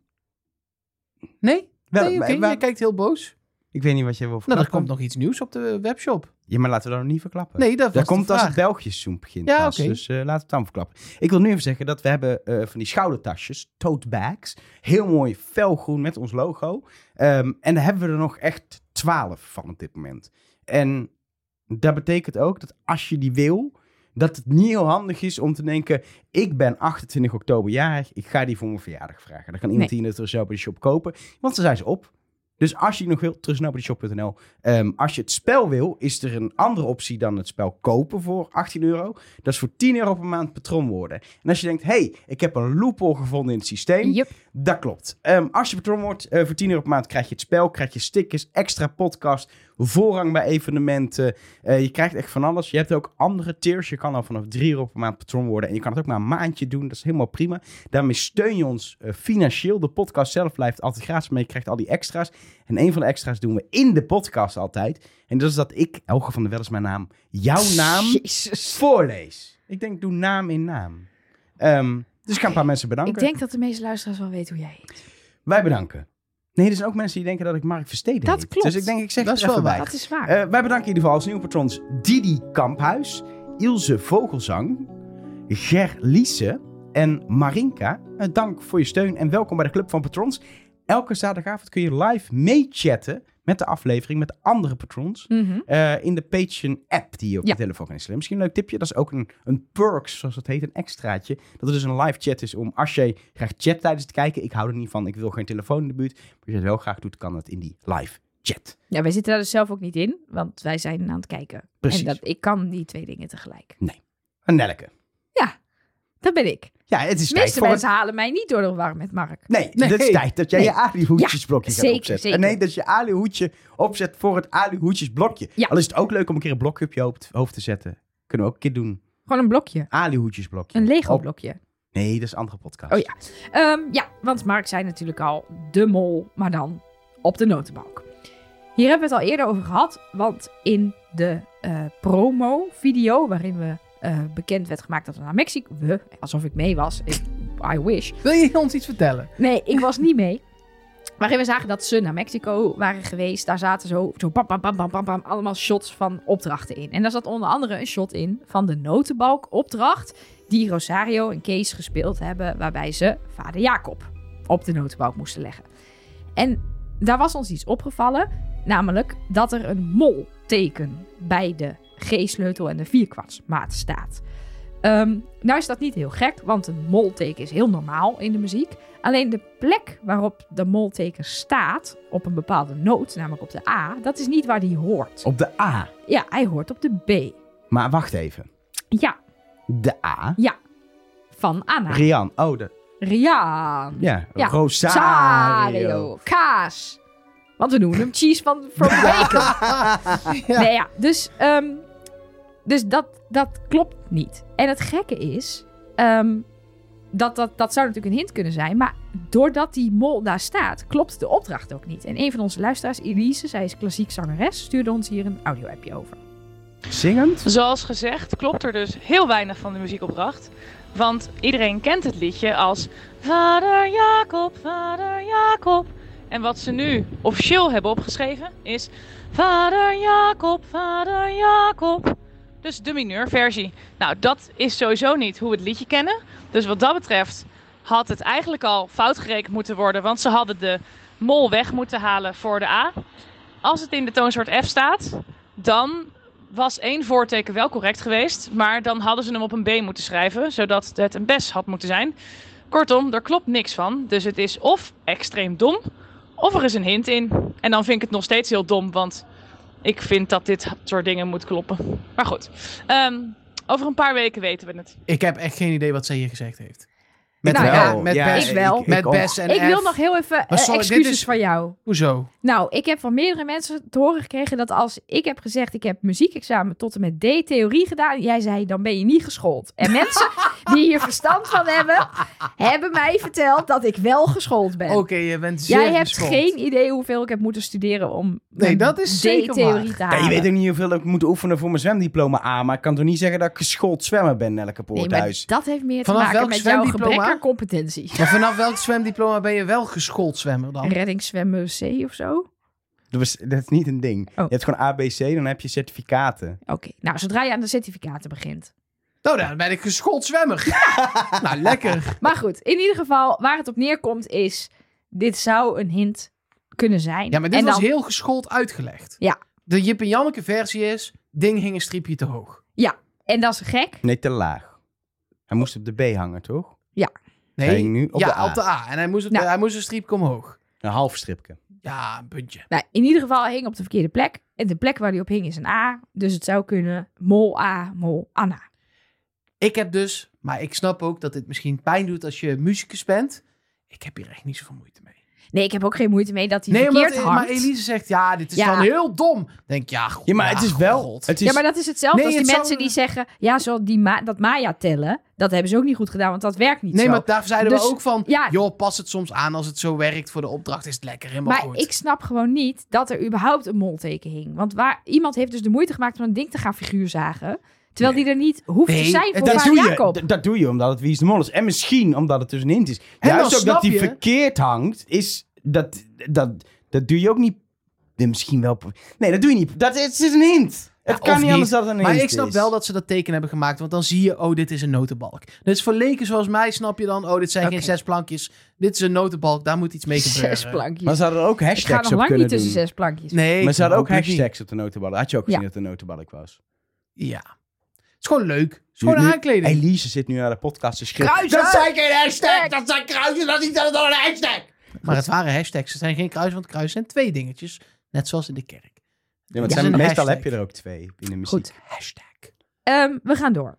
Speaker 3: Nee?
Speaker 1: Wel,
Speaker 3: nee, oké.
Speaker 1: wij- wij-
Speaker 3: Jij kijkt heel boos.
Speaker 1: Ik weet niet wat jij wil
Speaker 3: Nou, er
Speaker 1: verklappen.
Speaker 3: komt nog iets nieuws op de webshop.
Speaker 1: Ja, maar laten we dat nog niet verklappen.
Speaker 3: Nee, dat was
Speaker 1: Dat
Speaker 3: de
Speaker 1: komt als
Speaker 3: vraag.
Speaker 1: het Belgisch-zoom begint.
Speaker 3: Ja,
Speaker 1: pas.
Speaker 3: oké.
Speaker 1: Dus eh, laten we het dan verklappen. Ik wil nu even zeggen dat we hebben eh, van die schoudertasjes, tote bags. Heel mooi felgroen met ons logo. Ehm, en daar hebben we er nog echt twaalf van op dit moment. En dat betekent ook dat als je die wil, dat het niet heel handig is om te denken... ik ben 28 oktober jarig, ik ga die voor mijn verjaardag vragen. Dan kan iemand die in de Trustnobody Shop kopen, want dan zijn ze op. Dus als je die nog wil, trustnobodyshop.nl. Ehm, als je het spel wil, is er een andere optie dan het spel kopen voor 18 euro. Dat is voor 10 euro per maand patroon worden. En als je denkt, hey, ik heb een loophole gevonden in het systeem...
Speaker 2: Jup.
Speaker 1: Dat klopt. Ehm, als je patroon wordt, eh, voor 10 euro per maand krijg je het spel, krijg je stickers, extra podcast, voorrang bij evenementen. Eh, je krijgt echt van alles. Je hebt ook andere tiers. Je kan al vanaf 3 euro per maand patroon worden. En je kan het ook maar een maandje doen. Dat is helemaal prima. Daarmee steun je ons eh, financieel. De podcast zelf blijft altijd gratis, maar je krijgt al die extra's. En een van de extra's doen we in de podcast altijd. En dat is dat ik, Elge van der Wel is mijn naam, jouw naam
Speaker 2: Jezus.
Speaker 1: voorlees. Ik denk, doe naam in naam. Ehm, dus ik ga een paar mensen bedanken.
Speaker 2: Ik denk dat de meeste luisteraars wel weten hoe jij heet.
Speaker 1: Wij bedanken. Nee, er zijn ook mensen die denken dat ik Mark Versteden
Speaker 2: Dat
Speaker 1: heet.
Speaker 2: klopt.
Speaker 1: Dus ik denk, ik zeg
Speaker 3: Dat
Speaker 1: het
Speaker 3: is
Speaker 1: er
Speaker 3: wel
Speaker 1: even bij.
Speaker 3: waar.
Speaker 2: Dat is waar.
Speaker 1: Eh, wij bedanken in ieder geval als nieuwe patrons Didi Kamphuis, Ilse Vogelzang, Ger Liese en Marinka. Eh, dank voor je steun en welkom bij de Club van Patrons. Elke zaterdagavond kun je live meechatten met de aflevering met andere patrons.
Speaker 2: Mhm.
Speaker 1: Eh, in de Patreon app die je op
Speaker 2: Ja.
Speaker 1: je telefoon kan instellen. Misschien een leuk tipje. Dat is ook een, een perk, zoals dat heet, een extraatje. Dat er dus een live chat is om als jij graag chat tijdens het kijken. Ik hou er niet van, ik wil geen telefoon in de buurt. Maar als je het wel graag doet, kan dat in die live chat.
Speaker 2: Ja, wij zitten daar dus zelf ook niet in, want wij zijn aan het kijken.
Speaker 1: Precies.
Speaker 2: En dat, ik kan die twee dingen tegelijk.
Speaker 1: Een Nelke.
Speaker 2: Dat ben ik.
Speaker 1: Ja, het is
Speaker 2: De
Speaker 1: tijd
Speaker 2: meeste
Speaker 1: voor het...
Speaker 2: mensen halen mij niet door de war met Mark.
Speaker 1: Nee,
Speaker 3: Nee.
Speaker 1: het is tijd dat jij
Speaker 2: Nee.
Speaker 1: je aluhoedjesblokje
Speaker 2: Ja,
Speaker 1: gaat
Speaker 2: zeker,
Speaker 1: opzetten.
Speaker 2: zeker.
Speaker 1: En nee, dat je aluhoedje opzet voor het aluhoedjesblokje.
Speaker 2: Ja.
Speaker 1: Al is het ook leuk om een keer een blokje op je hoofd, hoofd te zetten. Kunnen we ook een keer doen.
Speaker 2: Gewoon een blokje.
Speaker 1: Aluhoedjesblokje.
Speaker 2: Een Lego
Speaker 1: Op-
Speaker 2: blokje.
Speaker 1: Nee, dat is een andere podcast.
Speaker 2: Oh ja. Ehm, ja, want Mark zei natuurlijk al de mol, maar dan op de notenbank. Hier hebben we het al eerder over gehad, want in de eh, promo-video waarin we eh, bekend werd gemaakt dat we naar Mexico... We, alsof ik mee was. Ik- I wish.
Speaker 3: Wil je ons iets vertellen?
Speaker 2: Nee, ik was niet mee. Waarin we zagen dat ze naar Mexico waren geweest. Daar zaten zo, zo bam, bam, bam, bam, bam, bam, allemaal shots van opdrachten in. En daar zat onder andere een shot in van de notenbalkopdracht... die Rosario en Kees gespeeld hebben... waarbij ze vader Jacob op de notenbalk moesten leggen. En daar was ons iets opgevallen. Namelijk dat er een molteken bij de G-sleutel en de vierkwartsmaat staat. Ehm, nou is dat niet heel gek, want een molteken is heel normaal in de muziek. Alleen de plek waarop de molteken staat, op een bepaalde noot, namelijk op de A, dat is niet waar die hoort.
Speaker 1: Op de A.
Speaker 2: Ja, hij hoort op de B.
Speaker 1: Maar wacht even.
Speaker 2: Ja,
Speaker 1: De A.
Speaker 2: van Anna.
Speaker 1: Rian. Oh, de...
Speaker 2: Rian.
Speaker 1: Ja,
Speaker 2: Ja,
Speaker 1: Rosario.
Speaker 2: Sario. Kaas. Want we noemen hem cheese van From the Baker.
Speaker 3: Ja.
Speaker 2: Nee, ja, dus, ehm, dus dat, dat klopt niet. En het gekke is, ehm, dat, dat, dat zou natuurlijk een hint kunnen zijn, maar doordat die mol daar staat, klopt de opdracht ook niet. En een van onze luisteraars, Elise, zij is klassiek zangeres, stuurde ons hier een audio-appje over.
Speaker 1: [laughs] Zingend?
Speaker 8: Zoals gezegd klopt er dus heel weinig van de muziekopdracht. Want iedereen kent het liedje als Vader Jacob, Vader Jacob. En wat ze nu officieel hebben opgeschreven is Vader Jacob, Vader Jacob. Dus de mineurversie. Nou, dat is sowieso niet hoe we het liedje kennen. Dus wat dat betreft had het eigenlijk al fout gerekend moeten worden. Want ze hadden de mol weg moeten halen voor de A. Als het in de toonsoort F staat, dan was één voorteken wel correct geweest, maar dan hadden ze hem op een B moeten schrijven, zodat het een bes had moeten zijn. Kortom, er klopt niks van, dus het is of extreem dom, of er is een hint in. En dan vind ik het nog steeds heel dom, want ik vind dat dit soort dingen moet kloppen. Maar goed, ehm, over een paar weken weten we het.
Speaker 3: Ik heb echt geen idee wat zij hier gezegd heeft.
Speaker 2: Nou
Speaker 3: wel,
Speaker 2: ja,
Speaker 3: met
Speaker 1: ja,
Speaker 3: Bess,
Speaker 2: ik wel.
Speaker 3: met
Speaker 1: ook.
Speaker 3: Bess en
Speaker 2: ik wil
Speaker 3: F.
Speaker 2: nog heel even eh,
Speaker 3: sorry, dit
Speaker 2: excuses
Speaker 3: is-
Speaker 2: van jou.
Speaker 3: Hoezo?
Speaker 2: Nou, ik heb van meerdere mensen te horen gekregen dat als ik heb gezegd ik heb muziekexamen tot en met D theorie gedaan, jij zei dan ben je niet geschoold. En
Speaker 3: [laughs]
Speaker 2: mensen die hier verstand van hebben, hebben mij verteld dat ik wel geschoold ben.
Speaker 3: Oké, je bent zeer
Speaker 2: Eh, jij hebt
Speaker 3: geschoold.
Speaker 2: geen idee hoeveel ik heb moeten studeren om
Speaker 3: Nee,
Speaker 2: mijn
Speaker 3: dat is zeker
Speaker 2: D-theorie
Speaker 3: waar.
Speaker 2: te
Speaker 1: Ja,
Speaker 2: halen.
Speaker 1: je weet ook niet hoeveel ik moet oefenen voor mijn zwemdiploma A. Maar ik kan toch niet zeggen dat ik geschoold zwemmer ben, Nelke
Speaker 2: nee, maar
Speaker 1: Poorthuis.
Speaker 2: dat heeft meer te
Speaker 3: Vanaf
Speaker 2: maken
Speaker 3: welk
Speaker 2: met jouw
Speaker 3: zwemdiploma?
Speaker 2: gebrek aan competentie.
Speaker 3: Maar vanaf welk zwemdiploma ben je wel geschoold zwemmer dan?
Speaker 2: Reddingszwemmen C of zo?
Speaker 1: dat, was, dat is niet een
Speaker 2: Oh.
Speaker 1: ding. Je hebt gewoon ABC, dan heb je certificaten.
Speaker 2: Oké, nou zodra je aan de certificaten begint.
Speaker 3: Nou, dan ben ik geschoold zwemmer. [laughs] nou, lekker.
Speaker 2: Maar goed, in ieder geval, waar het op neerkomt is... dit zou een hint kunnen zijn.
Speaker 3: Ja, maar dit
Speaker 2: En
Speaker 3: was
Speaker 2: dan-
Speaker 3: heel geschoold uitgelegd.
Speaker 2: Ja.
Speaker 3: De Jip en Janneke versie is, ding hing een streepje te hoog.
Speaker 2: En dat is gek.
Speaker 1: Nee, te laag. Hij moest op de B hangen, toch?
Speaker 3: Nee,
Speaker 1: Hij hing nu op
Speaker 3: ja,
Speaker 1: de A.
Speaker 3: op de A. En hij moest, op de-
Speaker 2: Nou.
Speaker 3: hij moest een streepje omhoog.
Speaker 1: Een half stripje.
Speaker 3: Ja, een puntje.
Speaker 2: Nou, in ieder geval hij hing op de verkeerde plek. En de plek waar hij op hing is een A. Dus het zou kunnen mol A, mol Anna.
Speaker 3: Ik heb dus, maar ik snap ook dat dit misschien pijn doet als je muzikus bent. Ik heb hier echt niet zoveel moeite mee.
Speaker 2: Nee, ik heb ook geen moeite mee dat hij
Speaker 3: nee,
Speaker 2: verkeerd
Speaker 3: omdat, maar
Speaker 2: hangt.
Speaker 3: Elise zegt, ja, dit is
Speaker 2: Ja.
Speaker 3: dan heel dom. Ik Denk, ja, goed.
Speaker 1: Ja, maar het is wel...
Speaker 3: god.
Speaker 1: Het is,
Speaker 2: Ja, maar dat is hetzelfde
Speaker 3: Nee,
Speaker 2: als die
Speaker 3: het zou-
Speaker 2: mensen die zeggen... ja, zo die ma dat Maya tellen, dat hebben ze ook niet goed gedaan... want dat werkt niet
Speaker 3: Nee,
Speaker 2: zo.
Speaker 3: maar daar zeiden
Speaker 2: Dus,
Speaker 3: we ook van,
Speaker 2: ja.
Speaker 3: joh, pas het soms aan als het zo werkt voor de opdracht, is het lekker helemaal
Speaker 2: Maar
Speaker 3: goed.
Speaker 2: ik snap gewoon niet dat er überhaupt een molteken hing. Want waar, iemand heeft dus de moeite gemaakt om een ding te gaan figuurzagen. Terwijl die er niet hoeft
Speaker 3: Nee,
Speaker 2: te zijn voor
Speaker 1: dat
Speaker 2: Vader
Speaker 1: doe, je,
Speaker 2: Jacob.
Speaker 1: d- dat doe je omdat het Wie is de Mol is. En misschien omdat het dus een hint is.
Speaker 3: dan
Speaker 1: Juist ook
Speaker 3: snap
Speaker 1: dat die
Speaker 3: je-
Speaker 1: verkeerd hangt, is dat, dat, dat doe je ook niet. Nee, misschien wel. Nee, dat doe je niet. Dat is, het is een hint. het
Speaker 3: Ja,
Speaker 1: kan
Speaker 3: of
Speaker 1: niet,
Speaker 3: niet.
Speaker 1: anders dan een
Speaker 3: Maar
Speaker 1: hint.
Speaker 3: ik snap
Speaker 1: is.
Speaker 3: wel dat ze dat teken hebben gemaakt, want dan zie je, oh, dit is een notenbalk. Dus voor leken zoals mij snap je dan, oh, dit zijn
Speaker 2: Oké.
Speaker 3: geen zes plankjes, dit is een notenbalk, daar moet iets mee gebeuren.
Speaker 2: Zes
Speaker 1: Maar
Speaker 2: plankjes.
Speaker 1: ze hadden er ook
Speaker 2: Ik ga
Speaker 1: hashtags
Speaker 2: nog
Speaker 1: op
Speaker 2: lang niet
Speaker 1: kunnen
Speaker 2: tussen
Speaker 1: doen.
Speaker 2: zes plankjes.
Speaker 3: Nee,
Speaker 1: maar ze hadden ook
Speaker 3: hopelijk niet.
Speaker 1: hashtags op de notenballen. Had je ook gezien
Speaker 2: Ja.
Speaker 1: dat het een notenbalk was?
Speaker 3: Ja. Het is gewoon leuk. Het is gewoon
Speaker 1: Nu- nu-
Speaker 3: aankleding.
Speaker 1: Elise zit nu naar de podcast dus te schreeuwen.
Speaker 2: Kruisen!
Speaker 1: Dat zijn geen hashtags! Dat zijn kruisen! Dat is niet dan een hashtag!
Speaker 3: Maar het waren hashtags. Het zijn geen kruis, want kruis zijn twee dingetjes. Net zoals in de kerk.
Speaker 1: Ja,
Speaker 3: Het
Speaker 1: want
Speaker 3: is
Speaker 1: zijn,
Speaker 3: een
Speaker 1: meestal
Speaker 3: hashtag.
Speaker 1: heb je er ook twee in de muziek.
Speaker 2: Goed.
Speaker 3: Hashtag.
Speaker 2: Ehm, we gaan door.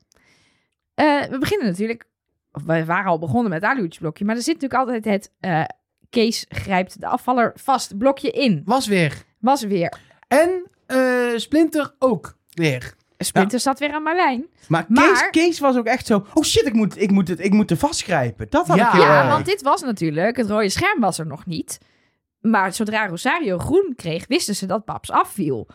Speaker 2: Eh, we beginnen natuurlijk... of we waren al begonnen met het aluhoedjesblokje. Maar er zit natuurlijk altijd het... eh, Kees grijpt de afvaller vast blokje in.
Speaker 3: Was weer.
Speaker 2: Was weer.
Speaker 3: En eh, Splinter ook weer.
Speaker 2: Splinter zat weer aan Marlijn.
Speaker 1: Maar, Kees,
Speaker 2: Maar-
Speaker 1: Kees was ook echt zo... Oh shit, ik moet, ik moet, het, ik moet er vastgrijpen. Dat had
Speaker 3: Ja.
Speaker 1: ik heel
Speaker 2: Ja,
Speaker 1: erg.
Speaker 2: want dit was natuurlijk, het rode scherm was er nog niet. Maar zodra Rosario groen kreeg, wisten ze dat Babs afviel.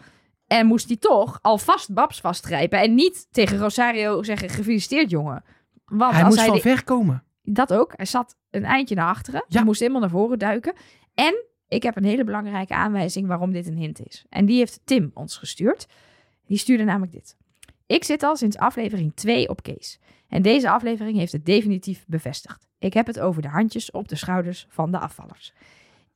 Speaker 2: En moest hij toch alvast Babs vastgrijpen en niet tegen Rosario zeggen gefeliciteerd jongen. Want
Speaker 3: Hij
Speaker 2: als
Speaker 3: moest
Speaker 2: hij
Speaker 3: van
Speaker 2: de-
Speaker 3: ver komen.
Speaker 2: dat ook, hij zat een eindje naar achteren,
Speaker 3: Ja.
Speaker 2: hij moest helemaal naar voren duiken. En ik heb een hele belangrijke aanwijzing waarom dit een hint is. En die heeft Tim ons gestuurd. Die stuurde namelijk dit. Ik zit al sinds aflevering 2 op Kees. En deze aflevering heeft het definitief bevestigd. Ik heb het over de handjes op de schouders van de afvallers.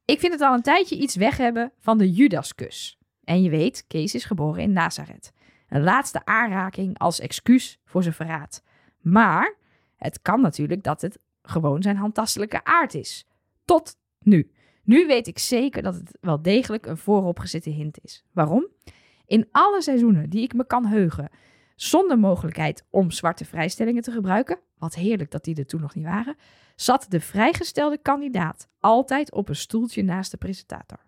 Speaker 2: Ik vind het al een tijdje iets weg hebben van de Judaskus. En je weet, Kees is geboren in Nazareth. Een laatste aanraking als excuus voor zijn verraad. Maar het kan natuurlijk dat het gewoon zijn handtastelijke aard is. Tot nu. Nu weet ik zeker dat het wel degelijk een vooropgezette hint is. Waarom? In alle seizoenen die ik me kan heugen, zonder mogelijkheid om zwarte vrijstellingen te gebruiken, wat heerlijk dat die er toen nog niet waren, zat de vrijgestelde kandidaat altijd op een stoeltje naast de presentator.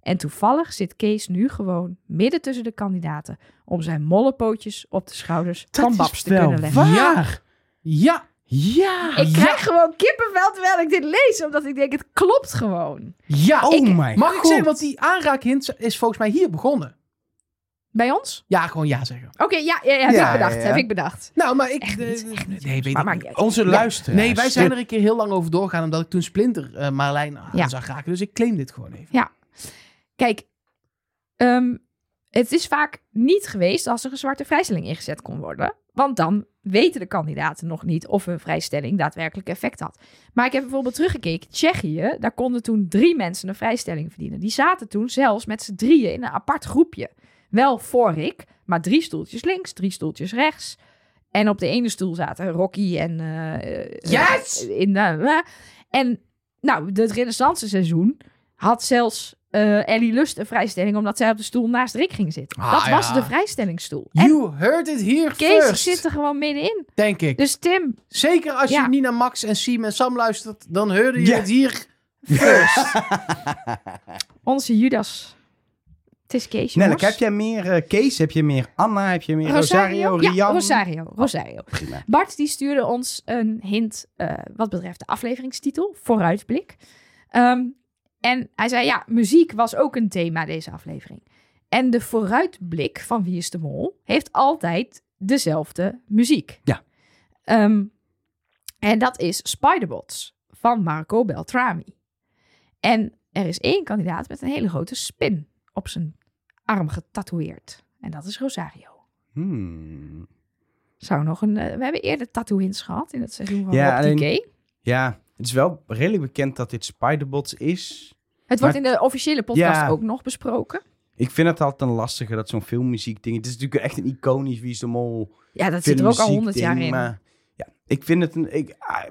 Speaker 2: En toevallig zit Kees nu gewoon midden tussen de kandidaten om zijn mollepootjes op de schouders van Babs te kunnen leggen.
Speaker 1: waar.
Speaker 3: Ja,
Speaker 1: Ja.
Speaker 2: Ik krijg gewoon kippenvel terwijl ik dit lees, omdat ik denk, het klopt gewoon.
Speaker 3: ja.
Speaker 2: Ah,
Speaker 1: Oh
Speaker 3: Ah, Ik-
Speaker 1: my
Speaker 3: Mag ik
Speaker 1: god.
Speaker 3: zeggen, want die aanraakhint is volgens mij hier begonnen.
Speaker 2: Bij ons?
Speaker 3: Ja, gewoon ja zeggen.
Speaker 2: Oké, ja, ja, ja, heb
Speaker 1: Ja,
Speaker 2: ik bedacht,
Speaker 1: ja, ja.
Speaker 2: heb ik bedacht.
Speaker 3: Nou, maar ik...
Speaker 2: Echt niet,
Speaker 3: eh,
Speaker 2: echt niet.
Speaker 3: Nee, weet
Speaker 2: Maar
Speaker 3: ik
Speaker 2: maakt
Speaker 3: niet.
Speaker 2: niet uit.
Speaker 1: Onze
Speaker 3: Ja.
Speaker 1: luisteraars.
Speaker 3: Nee, wij zijn er een keer heel lang over doorgaan omdat ik toen Splinter eh Marlijn aan
Speaker 2: Ja.
Speaker 3: zag raken. Dus ik claim dit gewoon even.
Speaker 2: Kijk, ehm, het is vaak niet geweest als er een zwarte vrijstelling ingezet kon worden. Want dan weten de kandidaten nog niet of hun vrijstelling daadwerkelijk effect had. Maar ik heb bijvoorbeeld teruggekeken. Tsjechië, daar konden toen drie mensen een vrijstelling verdienen. Die zaten toen zelfs met z'n drieën in een apart groepje. Wel voor ik, maar drie stoeltjes links, drie stoeltjes rechts. En op de ene stoel zaten Rocky en... eh, eh,
Speaker 3: Yes!
Speaker 2: In, eh, eh. en nou, het renaissance seizoen had zelfs eh, Ellie Lust een vrijstelling... omdat zij op de stoel naast Rick ging zitten.
Speaker 3: Ah,
Speaker 2: dat was
Speaker 3: ja.
Speaker 2: de vrijstellingsstoel. En
Speaker 3: You heard it here
Speaker 2: Kees
Speaker 3: first,
Speaker 2: zit er gewoon middenin.
Speaker 3: denk ik.
Speaker 2: Dus Tim,
Speaker 3: Zeker als
Speaker 2: Ja.
Speaker 3: je niet naar Max en Siem en Sam luistert, dan hoorde je
Speaker 1: Ja.
Speaker 3: het [laughs] hier first.
Speaker 2: onze Judas. Het is Kees,
Speaker 1: Nellek,
Speaker 2: jongens.
Speaker 1: heb jij meer eh, Kees? Heb je meer Anna? Heb je meer Rosario? Rian?
Speaker 2: Ja, Rosario. Rosario.
Speaker 1: Prima.
Speaker 2: Bart die stuurde ons een hint eh, wat betreft de afleveringstitel, vooruitblik. Ehm, en hij zei, ja, muziek was ook een thema deze aflevering. En de vooruitblik van Wie is de Mol heeft altijd dezelfde muziek.
Speaker 1: Ja.
Speaker 2: Ehm, en dat is Spiderbots van Marco Beltrami. En er is één kandidaat met een hele grote spin op zijn arm getatoeëerd. En dat is Rosario.
Speaker 1: Hmm.
Speaker 2: Zou nog een. eh, we hebben eerder tattoo-hints gehad in het seizoen van
Speaker 1: Ja,
Speaker 2: Rob
Speaker 1: alleen-
Speaker 2: TK.
Speaker 1: Ja, het is wel redelijk bekend dat dit Spiderbots is.
Speaker 2: Het wordt in de officiële podcast
Speaker 1: Ja.
Speaker 2: ook nog besproken.
Speaker 1: Ik vind het altijd een lastige dat zo'n filmmuziek ding... Het is natuurlijk echt een iconisch Wie is de Mol
Speaker 2: Ja, dat zit er ook al
Speaker 1: filmmuziek
Speaker 2: honderd jaar
Speaker 1: ding,
Speaker 2: in.
Speaker 1: Maar ja, ik vind het een... Ik, ah,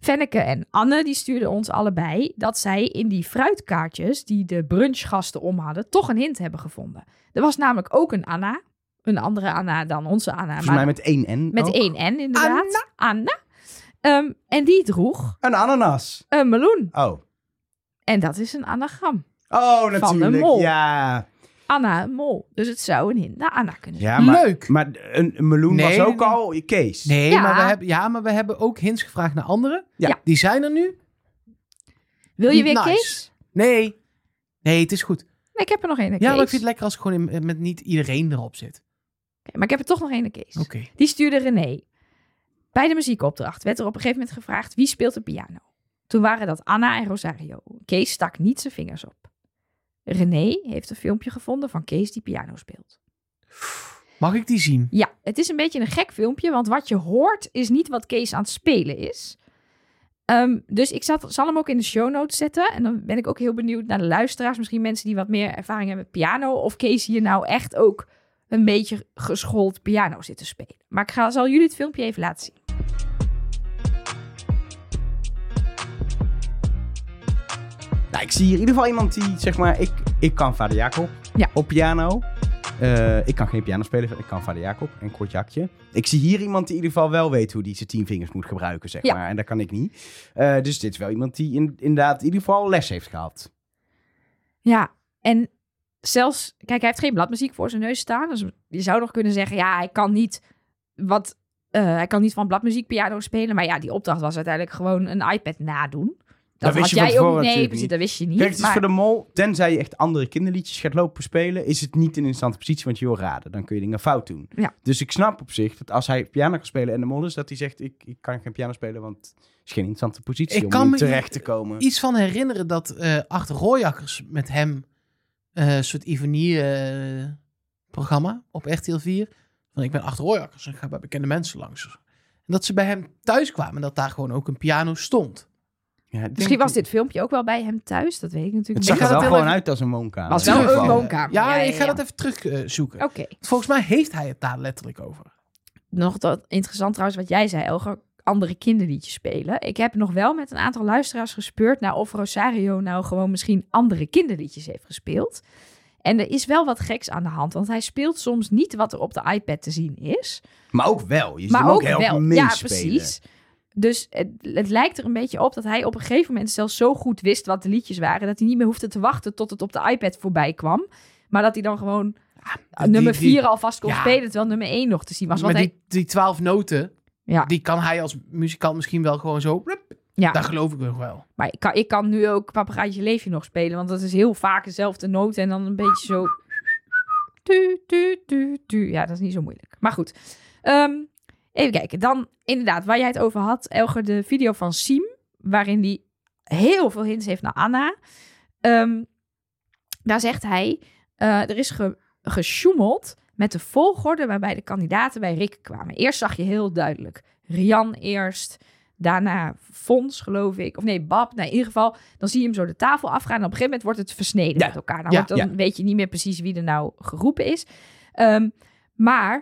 Speaker 2: Fenneke en Anne die stuurden ons allebei dat zij in die fruitkaartjes die de brunchgasten om hadden, toch een hint hebben gevonden. Er was namelijk ook een Anna. Een andere Anna dan onze Anna.
Speaker 1: volgens
Speaker 2: maar
Speaker 1: mij met één N Oh.
Speaker 2: met
Speaker 1: ook.
Speaker 2: één N inderdaad. Anna. Ehm, en die droeg
Speaker 1: Een ananas.
Speaker 2: een meloen.
Speaker 1: Oh.
Speaker 2: En dat is een anagram.
Speaker 1: Oh, natuurlijk.
Speaker 2: mol.
Speaker 1: Ja,
Speaker 2: Anna een mol. Dus het zou een hint naar Anna kunnen zijn.
Speaker 1: ja maar,
Speaker 3: Leuk.
Speaker 1: maar een, een meloen
Speaker 3: Nee,
Speaker 1: was ook
Speaker 3: nee, nee.
Speaker 1: al je Kees.
Speaker 3: Nee,
Speaker 2: Ja.
Speaker 3: Maar we hebben, ja, maar we hebben ook hints gevraagd naar anderen.
Speaker 2: Ja.
Speaker 3: Die zijn er nu.
Speaker 2: Wil je weer
Speaker 3: Nice.
Speaker 2: Kees?
Speaker 3: Nee. Nee, het is goed.
Speaker 2: Nee, ik heb er nog één.
Speaker 3: Ja, maar ik
Speaker 2: Kees.
Speaker 3: vind het lekker als ik gewoon in- met niet iedereen erop zit.
Speaker 2: Oké, maar ik heb er toch nog één Kees.
Speaker 3: Oké.
Speaker 2: Die stuurde René. Bij de muziekopdracht werd er op een gegeven moment gevraagd wie speelt de piano. Toen waren dat Anna en Rosario. Kees stak niet zijn vingers op. René heeft een filmpje gevonden van Kees die piano speelt.
Speaker 3: Mag ik die zien?
Speaker 2: Ja, het is een beetje een gek filmpje, want wat je hoort is niet wat Kees aan het spelen is. Ehm, dus ik zat, zal hem ook in de show notes zetten. En dan ben ik ook heel benieuwd naar de luisteraars. Misschien mensen die wat meer ervaring hebben met piano. Of Kees hier nou echt ook een beetje geschoold piano zit te spelen. Maar ik ga, zal jullie het filmpje even laten zien.
Speaker 1: Nou, ik zie hier in ieder geval iemand die, zeg maar, ik, ik kan Vader Jacob
Speaker 2: Ja.
Speaker 1: op piano. Eh, ik kan geen piano spelen, ik kan Vader Jacob en Kortjakje. Ik zie hier iemand die in ieder geval wel weet hoe die zijn tien vingers moet gebruiken, zeg
Speaker 2: Ja.
Speaker 1: maar. En dat kan ik niet. Eh, dus dit is wel iemand die in, inderdaad in ieder geval les heeft gehad.
Speaker 2: Ja, en zelfs, kijk, hij heeft geen bladmuziek voor zijn neus staan. Dus je zou nog kunnen zeggen, ja, hij kan niet wat, eh, hij kan niet van bladmuziek piano spelen. Maar ja, die opdracht was uiteindelijk gewoon een iPad nadoen. Dat,
Speaker 1: Dat wist
Speaker 2: had
Speaker 1: je van
Speaker 2: jij
Speaker 1: tevoren
Speaker 2: ook. Nee,
Speaker 1: natuurlijk
Speaker 2: precies,
Speaker 1: niet.
Speaker 2: dat wist je niet.
Speaker 1: Kijk, het is
Speaker 2: maar-
Speaker 1: voor de mol, tenzij je echt andere kinderliedjes gaat lopen spelen, is het niet in een interessante positie, want je wil raden. Dan kun je dingen fout doen.
Speaker 2: Ja.
Speaker 1: Dus ik snap op zich dat als hij piano kan spelen en de mol is, dat hij zegt, ik, ik kan geen piano spelen, want het is geen interessante positie
Speaker 3: Ik
Speaker 1: om
Speaker 3: kan
Speaker 1: in
Speaker 3: me-
Speaker 1: terecht te komen.
Speaker 3: iets van herinneren dat eh Art Rooijakkers met hem eh, een soort Ivanie-programma op RTL 4. Van ik ben Art Rooijakkers en ik ga bij bekende mensen langs. En dat ze bij hem thuis kwamen en dat daar gewoon ook een piano stond.
Speaker 1: Ja, ik
Speaker 2: Misschien
Speaker 1: denk-
Speaker 2: was dit filmpje ook wel bij hem thuis. Dat weet ik natuurlijk
Speaker 1: Het
Speaker 2: niet.
Speaker 1: zag
Speaker 3: Ik ga
Speaker 1: er wel
Speaker 3: dat heel
Speaker 1: gewoon
Speaker 3: even-
Speaker 1: uit als een woonkamer.
Speaker 2: Was
Speaker 1: In
Speaker 2: wel
Speaker 1: ieder
Speaker 2: een
Speaker 1: geval.
Speaker 2: woonkamer.
Speaker 3: Ja,
Speaker 2: Ja,
Speaker 3: ik ga
Speaker 2: ja, Oh. ja.
Speaker 3: dat even terugzoeken.
Speaker 2: Oké.
Speaker 3: Volgens mij heeft hij het daar letterlijk over.
Speaker 2: nog dat interessant trouwens wat jij zei, Elger. Andere kinderliedjes spelen. Ik heb nog wel met een aantal luisteraars gespeurd naar of Rosario nou gewoon misschien andere kinderliedjes heeft gespeeld. En er is wel wat geks aan de hand, want hij speelt soms niet wat er op de iPad te zien is.
Speaker 1: Maar ook wel. Je ziet
Speaker 2: maar
Speaker 1: hem ook
Speaker 2: ook
Speaker 1: heel
Speaker 2: wel.
Speaker 1: meespelen.
Speaker 2: Ja, precies. Dus het, het lijkt er een beetje op dat hij op een gegeven moment zelfs zo goed wist wat de liedjes waren, dat hij niet meer hoefde te wachten tot het op de iPad voorbij kwam. Maar dat hij dan gewoon
Speaker 3: die-
Speaker 2: Ah, nummer
Speaker 3: die-
Speaker 2: 4 alvast kon
Speaker 3: ja.
Speaker 2: spelen, terwijl nummer 1 nog te zien was.
Speaker 3: maar
Speaker 2: Want hij,
Speaker 3: die, die twaalf noten,
Speaker 2: Ja.
Speaker 3: die kan hij als muzikant misschien wel gewoon zo...
Speaker 2: ja.
Speaker 3: Daar geloof ik nog wel.
Speaker 2: Maar ik kan, ik kan nu ook Papagaaitje Leefje nog spelen. Want dat is heel vaak dezelfde noot en dan een beetje zo... Tu, tu, tu, tu. Ja, dat is niet zo moeilijk. Maar goed. Ehm, even kijken. Dan inderdaad, waar jij het over had, Elger, de video van Siem. Waarin die heel veel hints heeft naar Anna. Ehm, daar zegt hij... eh, er is ge, gesjoemeld met de volgorde waarbij de kandidaten bij Rick kwamen. Eerst zag je heel duidelijk. Rian eerst, daarna Fons, geloof ik. Of nee, Bab. Nou, in ieder geval, dan zie je hem zo de tafel afgaan. En op een gegeven moment wordt het versneden
Speaker 1: Ja,
Speaker 2: met elkaar. Dan,
Speaker 3: ja,
Speaker 2: wordt- dan weet je niet meer precies wie er nou geroepen is. Ehm, maar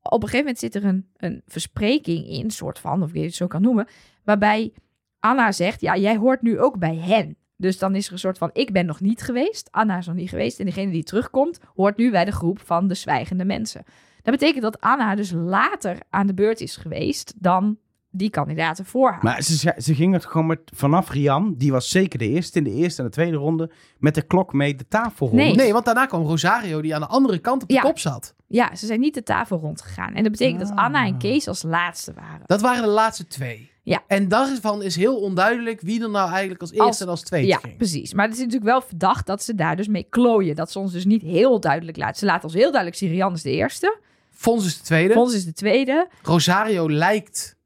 Speaker 2: op een gegeven moment zit er een, een verspreking in, soort van, of je het zo kan noemen. Waarbij Anna zegt, ja, jij hoort nu ook bij hen. Dus dan is er een soort van, ik ben nog niet geweest. Anna is nog niet geweest. En degene die terugkomt, hoort nu bij de groep van de zwijgende mensen. Dat betekent dat Anna dus later aan de beurt is geweest dan die kandidaten voor haar.
Speaker 1: Maar ze, ze- ze ging het gewoon met, vanaf Rian, die was zeker de eerste in de eerste en de tweede ronde, met de klok mee de tafel rond.
Speaker 2: Nee.
Speaker 3: Nee, want daarna kwam Rosario die aan de andere kant op de
Speaker 2: Ja.
Speaker 3: kop zat.
Speaker 2: Ja, ze zijn niet de tafel rondgegaan. En dat betekent dat Anna en Kees als laatste waren.
Speaker 3: Ah. Dat waren de laatste twee.
Speaker 2: Ja.
Speaker 3: En daarvan is heel onduidelijk wie er nou eigenlijk als eerste
Speaker 2: Als-
Speaker 3: en als tweede
Speaker 2: ja,
Speaker 3: ging.
Speaker 2: precies. Maar het is natuurlijk wel verdacht dat ze daar dus mee klooien. Dat ze ons dus niet heel duidelijk laat. Ze laat ons heel duidelijk zien, Rian is de eerste.
Speaker 3: Fons is de tweede.
Speaker 2: Fons is de tweede.
Speaker 3: Rosario lijkt.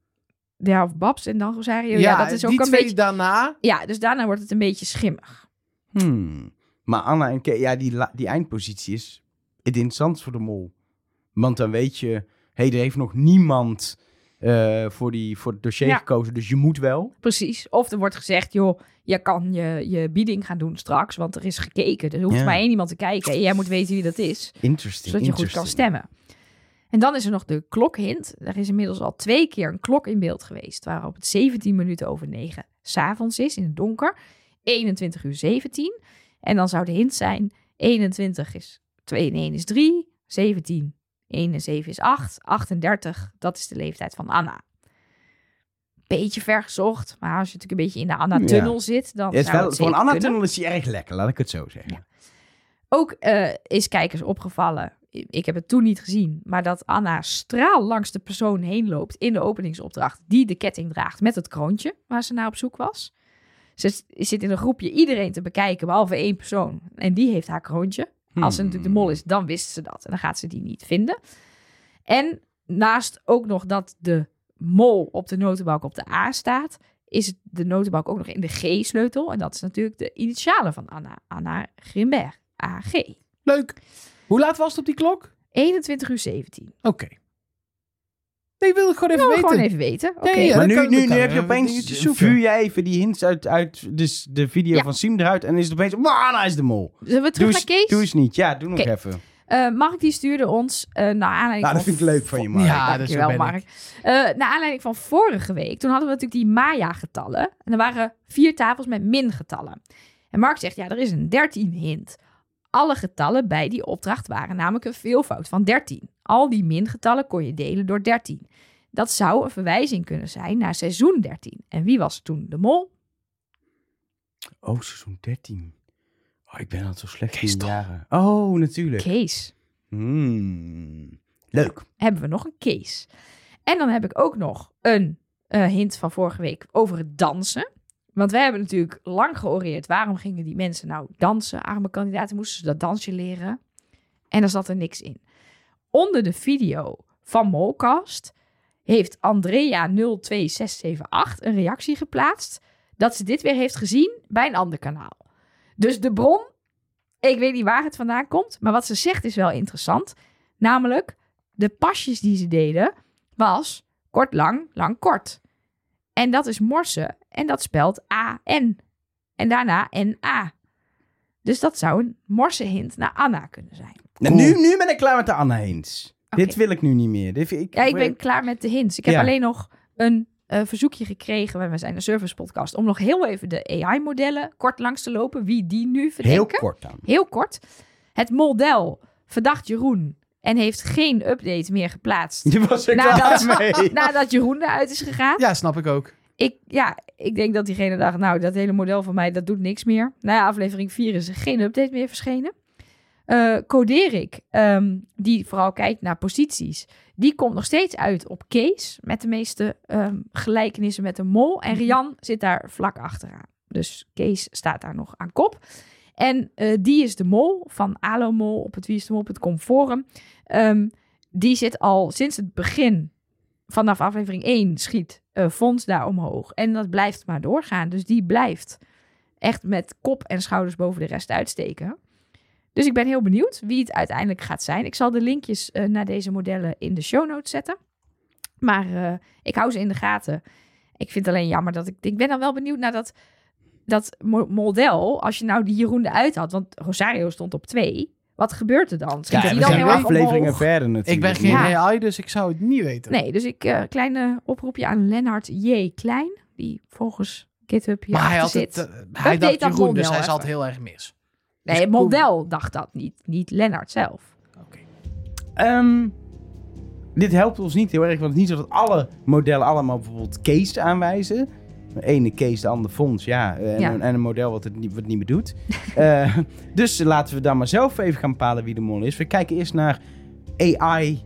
Speaker 2: Ja, of Babs en dan Rosario. Ja,
Speaker 3: Ja,
Speaker 2: dat is ook
Speaker 3: die
Speaker 2: een
Speaker 3: twee
Speaker 2: beetje...
Speaker 3: daarna.
Speaker 2: Ja, dus daarna wordt het een beetje schimmig.
Speaker 1: Hmm. Maar Anna en Ke ja, die, la- die eindpositie is het interessant voor de mol. Want dan weet je, hé, er heeft nog niemand eh, voor, die, voor het dossier
Speaker 2: Ja.
Speaker 1: gekozen, dus je moet wel.
Speaker 2: Precies. Of er wordt gezegd, joh, je kan je, je bieding gaan doen straks, want er is gekeken. Er hoeft
Speaker 1: Ja.
Speaker 2: maar één iemand te kijken en jij moet weten wie dat is,
Speaker 1: Interesting.
Speaker 2: zodat je goed kan
Speaker 1: interesting.
Speaker 2: stemmen. En dan is er nog de klokhint. Er is inmiddels al twee keer een klok in beeld geweest, waarop het 17 minuten over 9 s'avonds is, in het donker. 21 uur 17. En dan zou de hint zijn, 21 is 2 en 1 is 3, 17, 1 en 7 is 8, 38, dat is de leeftijd van Anna. Beetje ver gezocht, maar als je natuurlijk een beetje in de Anna-tunnel zit, dan
Speaker 1: Ja, het is
Speaker 2: zou
Speaker 1: wel,
Speaker 2: het
Speaker 1: voor een
Speaker 2: zeker
Speaker 1: Anna
Speaker 2: kunnen.
Speaker 1: tunnel is hij erg lekker, laat ik het zo zeggen.
Speaker 2: Ook eh, is kijkers opgevallen, ik heb het toen niet gezien, maar dat Anna straal langs de persoon heen loopt in de openingsopdracht die de ketting draagt met het kroontje waar ze naar op zoek was. Ze s- zit in een groepje iedereen te bekijken, behalve één persoon. En die heeft haar kroontje. Als ze
Speaker 1: Hmm.
Speaker 2: natuurlijk de mol is, dan wist ze dat. En dan gaat ze die niet vinden. En naast ook nog dat de mol op de notenbalk op de A staat, is het de notenbalk ook nog in de G-sleutel. En dat is natuurlijk de initialen van Anna. Anna Grimberg, AG.
Speaker 3: Leuk. Hoe laat was het op die klok?
Speaker 2: 21 uur 17.
Speaker 3: Oké. Nee, wil ik gewoon even
Speaker 2: Nou,
Speaker 3: weten.
Speaker 2: gewoon even weten. Oké.
Speaker 3: Nee, Ja,
Speaker 1: maar
Speaker 3: dat
Speaker 1: nu,
Speaker 3: kan-
Speaker 1: nu,
Speaker 3: dat
Speaker 1: nu
Speaker 3: kan.
Speaker 1: heb je
Speaker 3: Even dingetjes
Speaker 1: opeens,
Speaker 3: zoeken.
Speaker 1: vuur jij even die hints uit, uit dus de video
Speaker 2: Ja.
Speaker 1: van Siem eruit en is het opeens, maar Anna is de mol.
Speaker 2: Zullen we
Speaker 1: Doe
Speaker 2: terug
Speaker 1: eens,
Speaker 2: naar Kees?
Speaker 1: doe eens niet, ja, doe nog
Speaker 2: Oké.
Speaker 1: even.
Speaker 2: Eh, Mark die stuurde ons eh naar aanleiding
Speaker 1: Nou,
Speaker 2: van...
Speaker 1: dat vind ik leuk van je, Mark.
Speaker 3: Ja, dat is
Speaker 2: Dankjewel, Mark. Eh naar aanleiding van vorige week, toen hadden we natuurlijk die Maya-getallen. En er waren vier tafels met min-getallen. En Mark zegt, ja, er is een 13 hint. Alle getallen bij die opdracht waren namelijk een veelvoud van 13. Al die min-getallen kon je delen door 13. Dat zou een verwijzing kunnen zijn naar seizoen 13. En wie was toen de mol?
Speaker 1: Oh, seizoen 13. Oh, Oh, ik ben al zo slecht
Speaker 3: Kees
Speaker 1: in
Speaker 3: Tol.
Speaker 1: jaren. Oh, natuurlijk.
Speaker 2: Kees.
Speaker 1: Hmm. Leuk.
Speaker 2: Hebben we nog een Kees. En dan heb ik ook nog een eh, hint van vorige week over het dansen. Want wij hebben natuurlijk lang georeerd. Waarom gingen die mensen nou dansen? Arme kandidaten moesten ze dat dansje leren. En daar zat er niks in. Onder de video van Molcast heeft Andrea02678 een reactie geplaatst. Dat ze dit weer heeft gezien bij een ander kanaal. Dus de bron, ik weet niet waar het vandaan komt. Maar wat ze zegt is wel interessant. Namelijk, de pasjes die ze deden was kort lang, lang kort. En dat is morsen. En dat spelt A-N. En daarna N-A. Dus dat zou een morsenhint naar Anna kunnen zijn.
Speaker 1: Nou, nu, nu ben ik klaar met de Anna eens.
Speaker 2: Oké.
Speaker 1: Dit wil ik nu niet meer. Dit, ik,
Speaker 2: Ja, ik ben klaar met de hints. Ik heb
Speaker 1: Ja.
Speaker 2: alleen nog een eh, verzoekje gekregen, want we zijn een service podcast, om nog heel even de AI-modellen kort langs te lopen. Wie die nu verdenken.
Speaker 1: Heel kort dan. [laughs]
Speaker 2: Heel kort. Het model verdacht Jeroen en heeft geen update meer geplaatst.
Speaker 1: Die was ik
Speaker 2: Nou,
Speaker 1: klaar
Speaker 2: dat-
Speaker 1: mee.
Speaker 2: [laughs] Nadat Jeroen eruit is gegaan.
Speaker 3: Ja, snap ik ook.
Speaker 2: Ik, ja, ik denk dat diegene dacht, nou, dat hele model van mij, dat doet niks meer. Na aflevering 4 is er geen update meer verschenen. Eh Coderik, ehm, die vooral kijkt naar posities, die komt nog steeds uit op Kees. Met de meeste ehm, gelijkenissen met de mol. En Rian zit daar vlak achteraan. Dus Kees staat daar nog aan kop. En eh, die is de mol van Alomol op het wieisdemol.com forum. Ehm, die zit al sinds het begin vanaf aflevering 1 schiet eh Fons daar omhoog. En dat blijft maar doorgaan. Dus die blijft echt met kop en schouders boven de rest uitsteken. Dus ik ben heel benieuwd wie het uiteindelijk gaat zijn. Ik zal de linkjes eh, naar deze modellen in de show notes zetten. Maar eh, ik hou ze in de gaten. Ik vind het alleen jammer dat ik... Ik ben dan wel benieuwd naar dat, dat mo- model. Als je nou die Jeroen eruit had. Want Rosario stond op twee. Wat gebeurt er dan?
Speaker 1: Ja,
Speaker 2: Schiet die
Speaker 1: we
Speaker 2: dan
Speaker 1: zijn
Speaker 2: heel erg
Speaker 1: afleveringen
Speaker 2: omhoog?
Speaker 1: verder natuurlijk.
Speaker 3: Ik ben geen
Speaker 2: Ja.
Speaker 3: AI, dus ik zou het niet weten.
Speaker 2: Nee, dus ik eh kleine oproepje aan Lennart J. Klein, die volgens GitHub hier
Speaker 3: maar hij had
Speaker 2: zit.
Speaker 3: het, eh, dus hij dacht
Speaker 2: deed dus dat
Speaker 3: Jeroen, dus
Speaker 2: model
Speaker 3: hij zat
Speaker 2: even.
Speaker 3: heel erg mis.
Speaker 2: nee, het model dacht dat niet, niet Lennart zelf.
Speaker 1: Ehm, dit helpt ons niet heel erg, want het is niet zo dat alle modellen allemaal bijvoorbeeld Kees aanwijzen. De ene Kees, de ander Fons, ja. Eh, En,
Speaker 2: Ja.
Speaker 1: Een, en een model wat het niet, wat het niet meer doet. [laughs] Eh, dus laten we dan maar zelf even gaan bepalen wie de mol is. We kijken eerst naar AI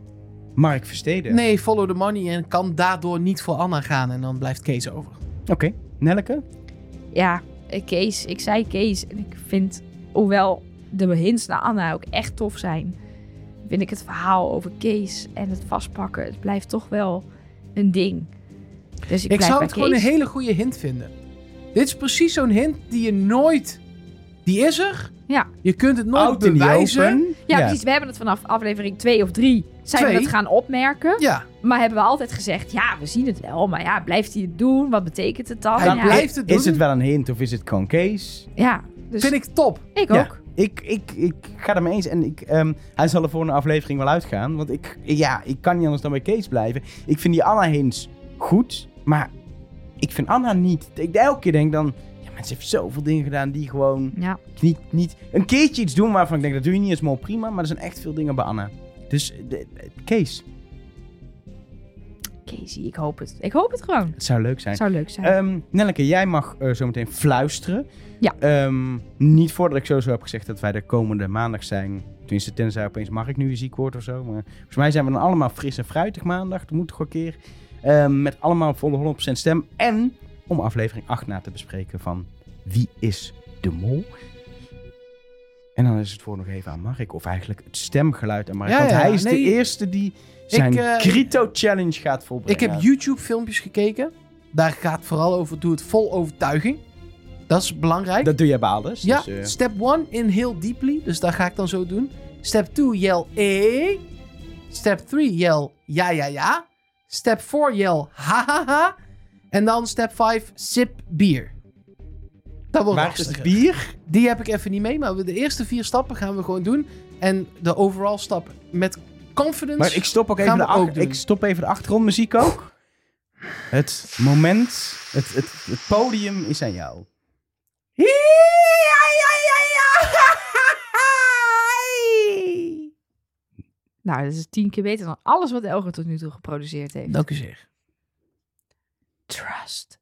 Speaker 1: Mark Versteden.
Speaker 3: Nee, follow the money en kan daardoor niet voor Anna gaan. En dan blijft Kees over.
Speaker 1: Oké, Nelleke?
Speaker 2: Ja, eh, Kees, ik zei Kees en ik vind, hoewel de hints naar Anna ook echt tof zijn, vind ik het verhaal over Kees en het vastpakken, het blijft toch wel een ding. Dus ik,
Speaker 3: Ik,
Speaker 2: blijf
Speaker 3: zou
Speaker 2: bij
Speaker 3: het gewoon een
Speaker 2: Kees.
Speaker 3: hele goede hint vinden. Dit is precies zo'n hint die je nooit... Die is er.
Speaker 2: Ja.
Speaker 3: Je kunt het nooit
Speaker 1: in the
Speaker 3: bewijzen.
Speaker 1: open.
Speaker 2: Ja, precies. We hebben het vanaf aflevering 2 of 3 zijn we
Speaker 3: Twee.
Speaker 2: het gaan opmerken.
Speaker 3: Ja,
Speaker 2: Maar hebben we altijd gezegd, ja, we zien het wel. Maar ja, blijft hij het doen? Wat betekent het dan?
Speaker 3: Hij
Speaker 2: ja,
Speaker 3: blijft- het doen.
Speaker 1: Is het wel een hint of is het gewoon Kees?
Speaker 2: ja, dus
Speaker 3: vind
Speaker 2: ik,
Speaker 3: ik top.
Speaker 1: Ja.
Speaker 2: ook.
Speaker 1: Ik, ik, ik ga ermee eens. En ik, ehm, hij zal er voor een aflevering wel uitgaan. Want ik, ja, ik kan niet anders dan bij Kees blijven. Ik vind die Anna Hins goed. Maar ik vind Anna niet. Ik elke keer denk dan... Ja, mensen heeft zoveel dingen gedaan die gewoon
Speaker 2: Ja.
Speaker 1: niet, niet... Een keertje iets doen waarvan ik denk... Dat doe je niet eens mol prima. Maar er zijn echt veel dingen bij Anna. Dus eh, de- eh, Kees.
Speaker 2: Casey, ik hoop het. Ik hoop het gewoon.
Speaker 1: Het zou leuk zijn.
Speaker 2: Zou leuk
Speaker 3: Eh.
Speaker 2: zijn.
Speaker 1: Ehm, Nelleke, jij mag eh, zometeen fluisteren.
Speaker 2: Ja.
Speaker 1: Ehm, niet voordat ik sowieso heb gezegd dat wij de komende maandag zijn. Tenminste, tenzij opeens mag ik nu ziek word of zo. Maar volgens mij zijn we dan allemaal fris en fruitig maandag. Dat moet toch een keer. Ehm, met allemaal volle 100% stem. En om aflevering 8 na te bespreken van Wie is de Mol? En dan is het voor nog even aan Mark. Of eigenlijk het stemgeluid aan Mark.
Speaker 3: Ja,
Speaker 1: want
Speaker 3: ja,
Speaker 1: hij is
Speaker 3: nee.
Speaker 1: de eerste die zijn
Speaker 3: eh,
Speaker 1: Krito-challenge gaat
Speaker 3: Ik
Speaker 1: volbrengen.
Speaker 3: heb YouTube-filmpjes gekeken. Daar gaat vooral over, doe het vol overtuiging. Dat is belangrijk.
Speaker 1: Dat doe jij bij alles.
Speaker 3: ja,
Speaker 1: dus, eh,
Speaker 3: step 1 in heel deeply. Dus dat ga ik dan zo doen. Step 2 yell eh. Step 3 yell ja ja ja. Step 4 yell ha ha ha. En dan step 5 sip bier. Dat wordt
Speaker 1: waar is
Speaker 3: lastig.
Speaker 1: het bier?
Speaker 3: Die heb ik even niet mee, maar we- de eerste vier stappen gaan we gewoon doen. En de overall stap met confidence.
Speaker 1: Maar ik stop ook even,
Speaker 3: Gaan
Speaker 1: de,
Speaker 3: we ook
Speaker 1: ach-
Speaker 3: doen.
Speaker 1: ik stop even de achtergrondmuziek ook. Het moment, het, het, het podium is aan jou.
Speaker 3: [laughs]
Speaker 2: Nou, dat is tien keer beter dan alles wat Elger tot nu toe geproduceerd heeft.
Speaker 3: Dank u zeer.
Speaker 2: Trust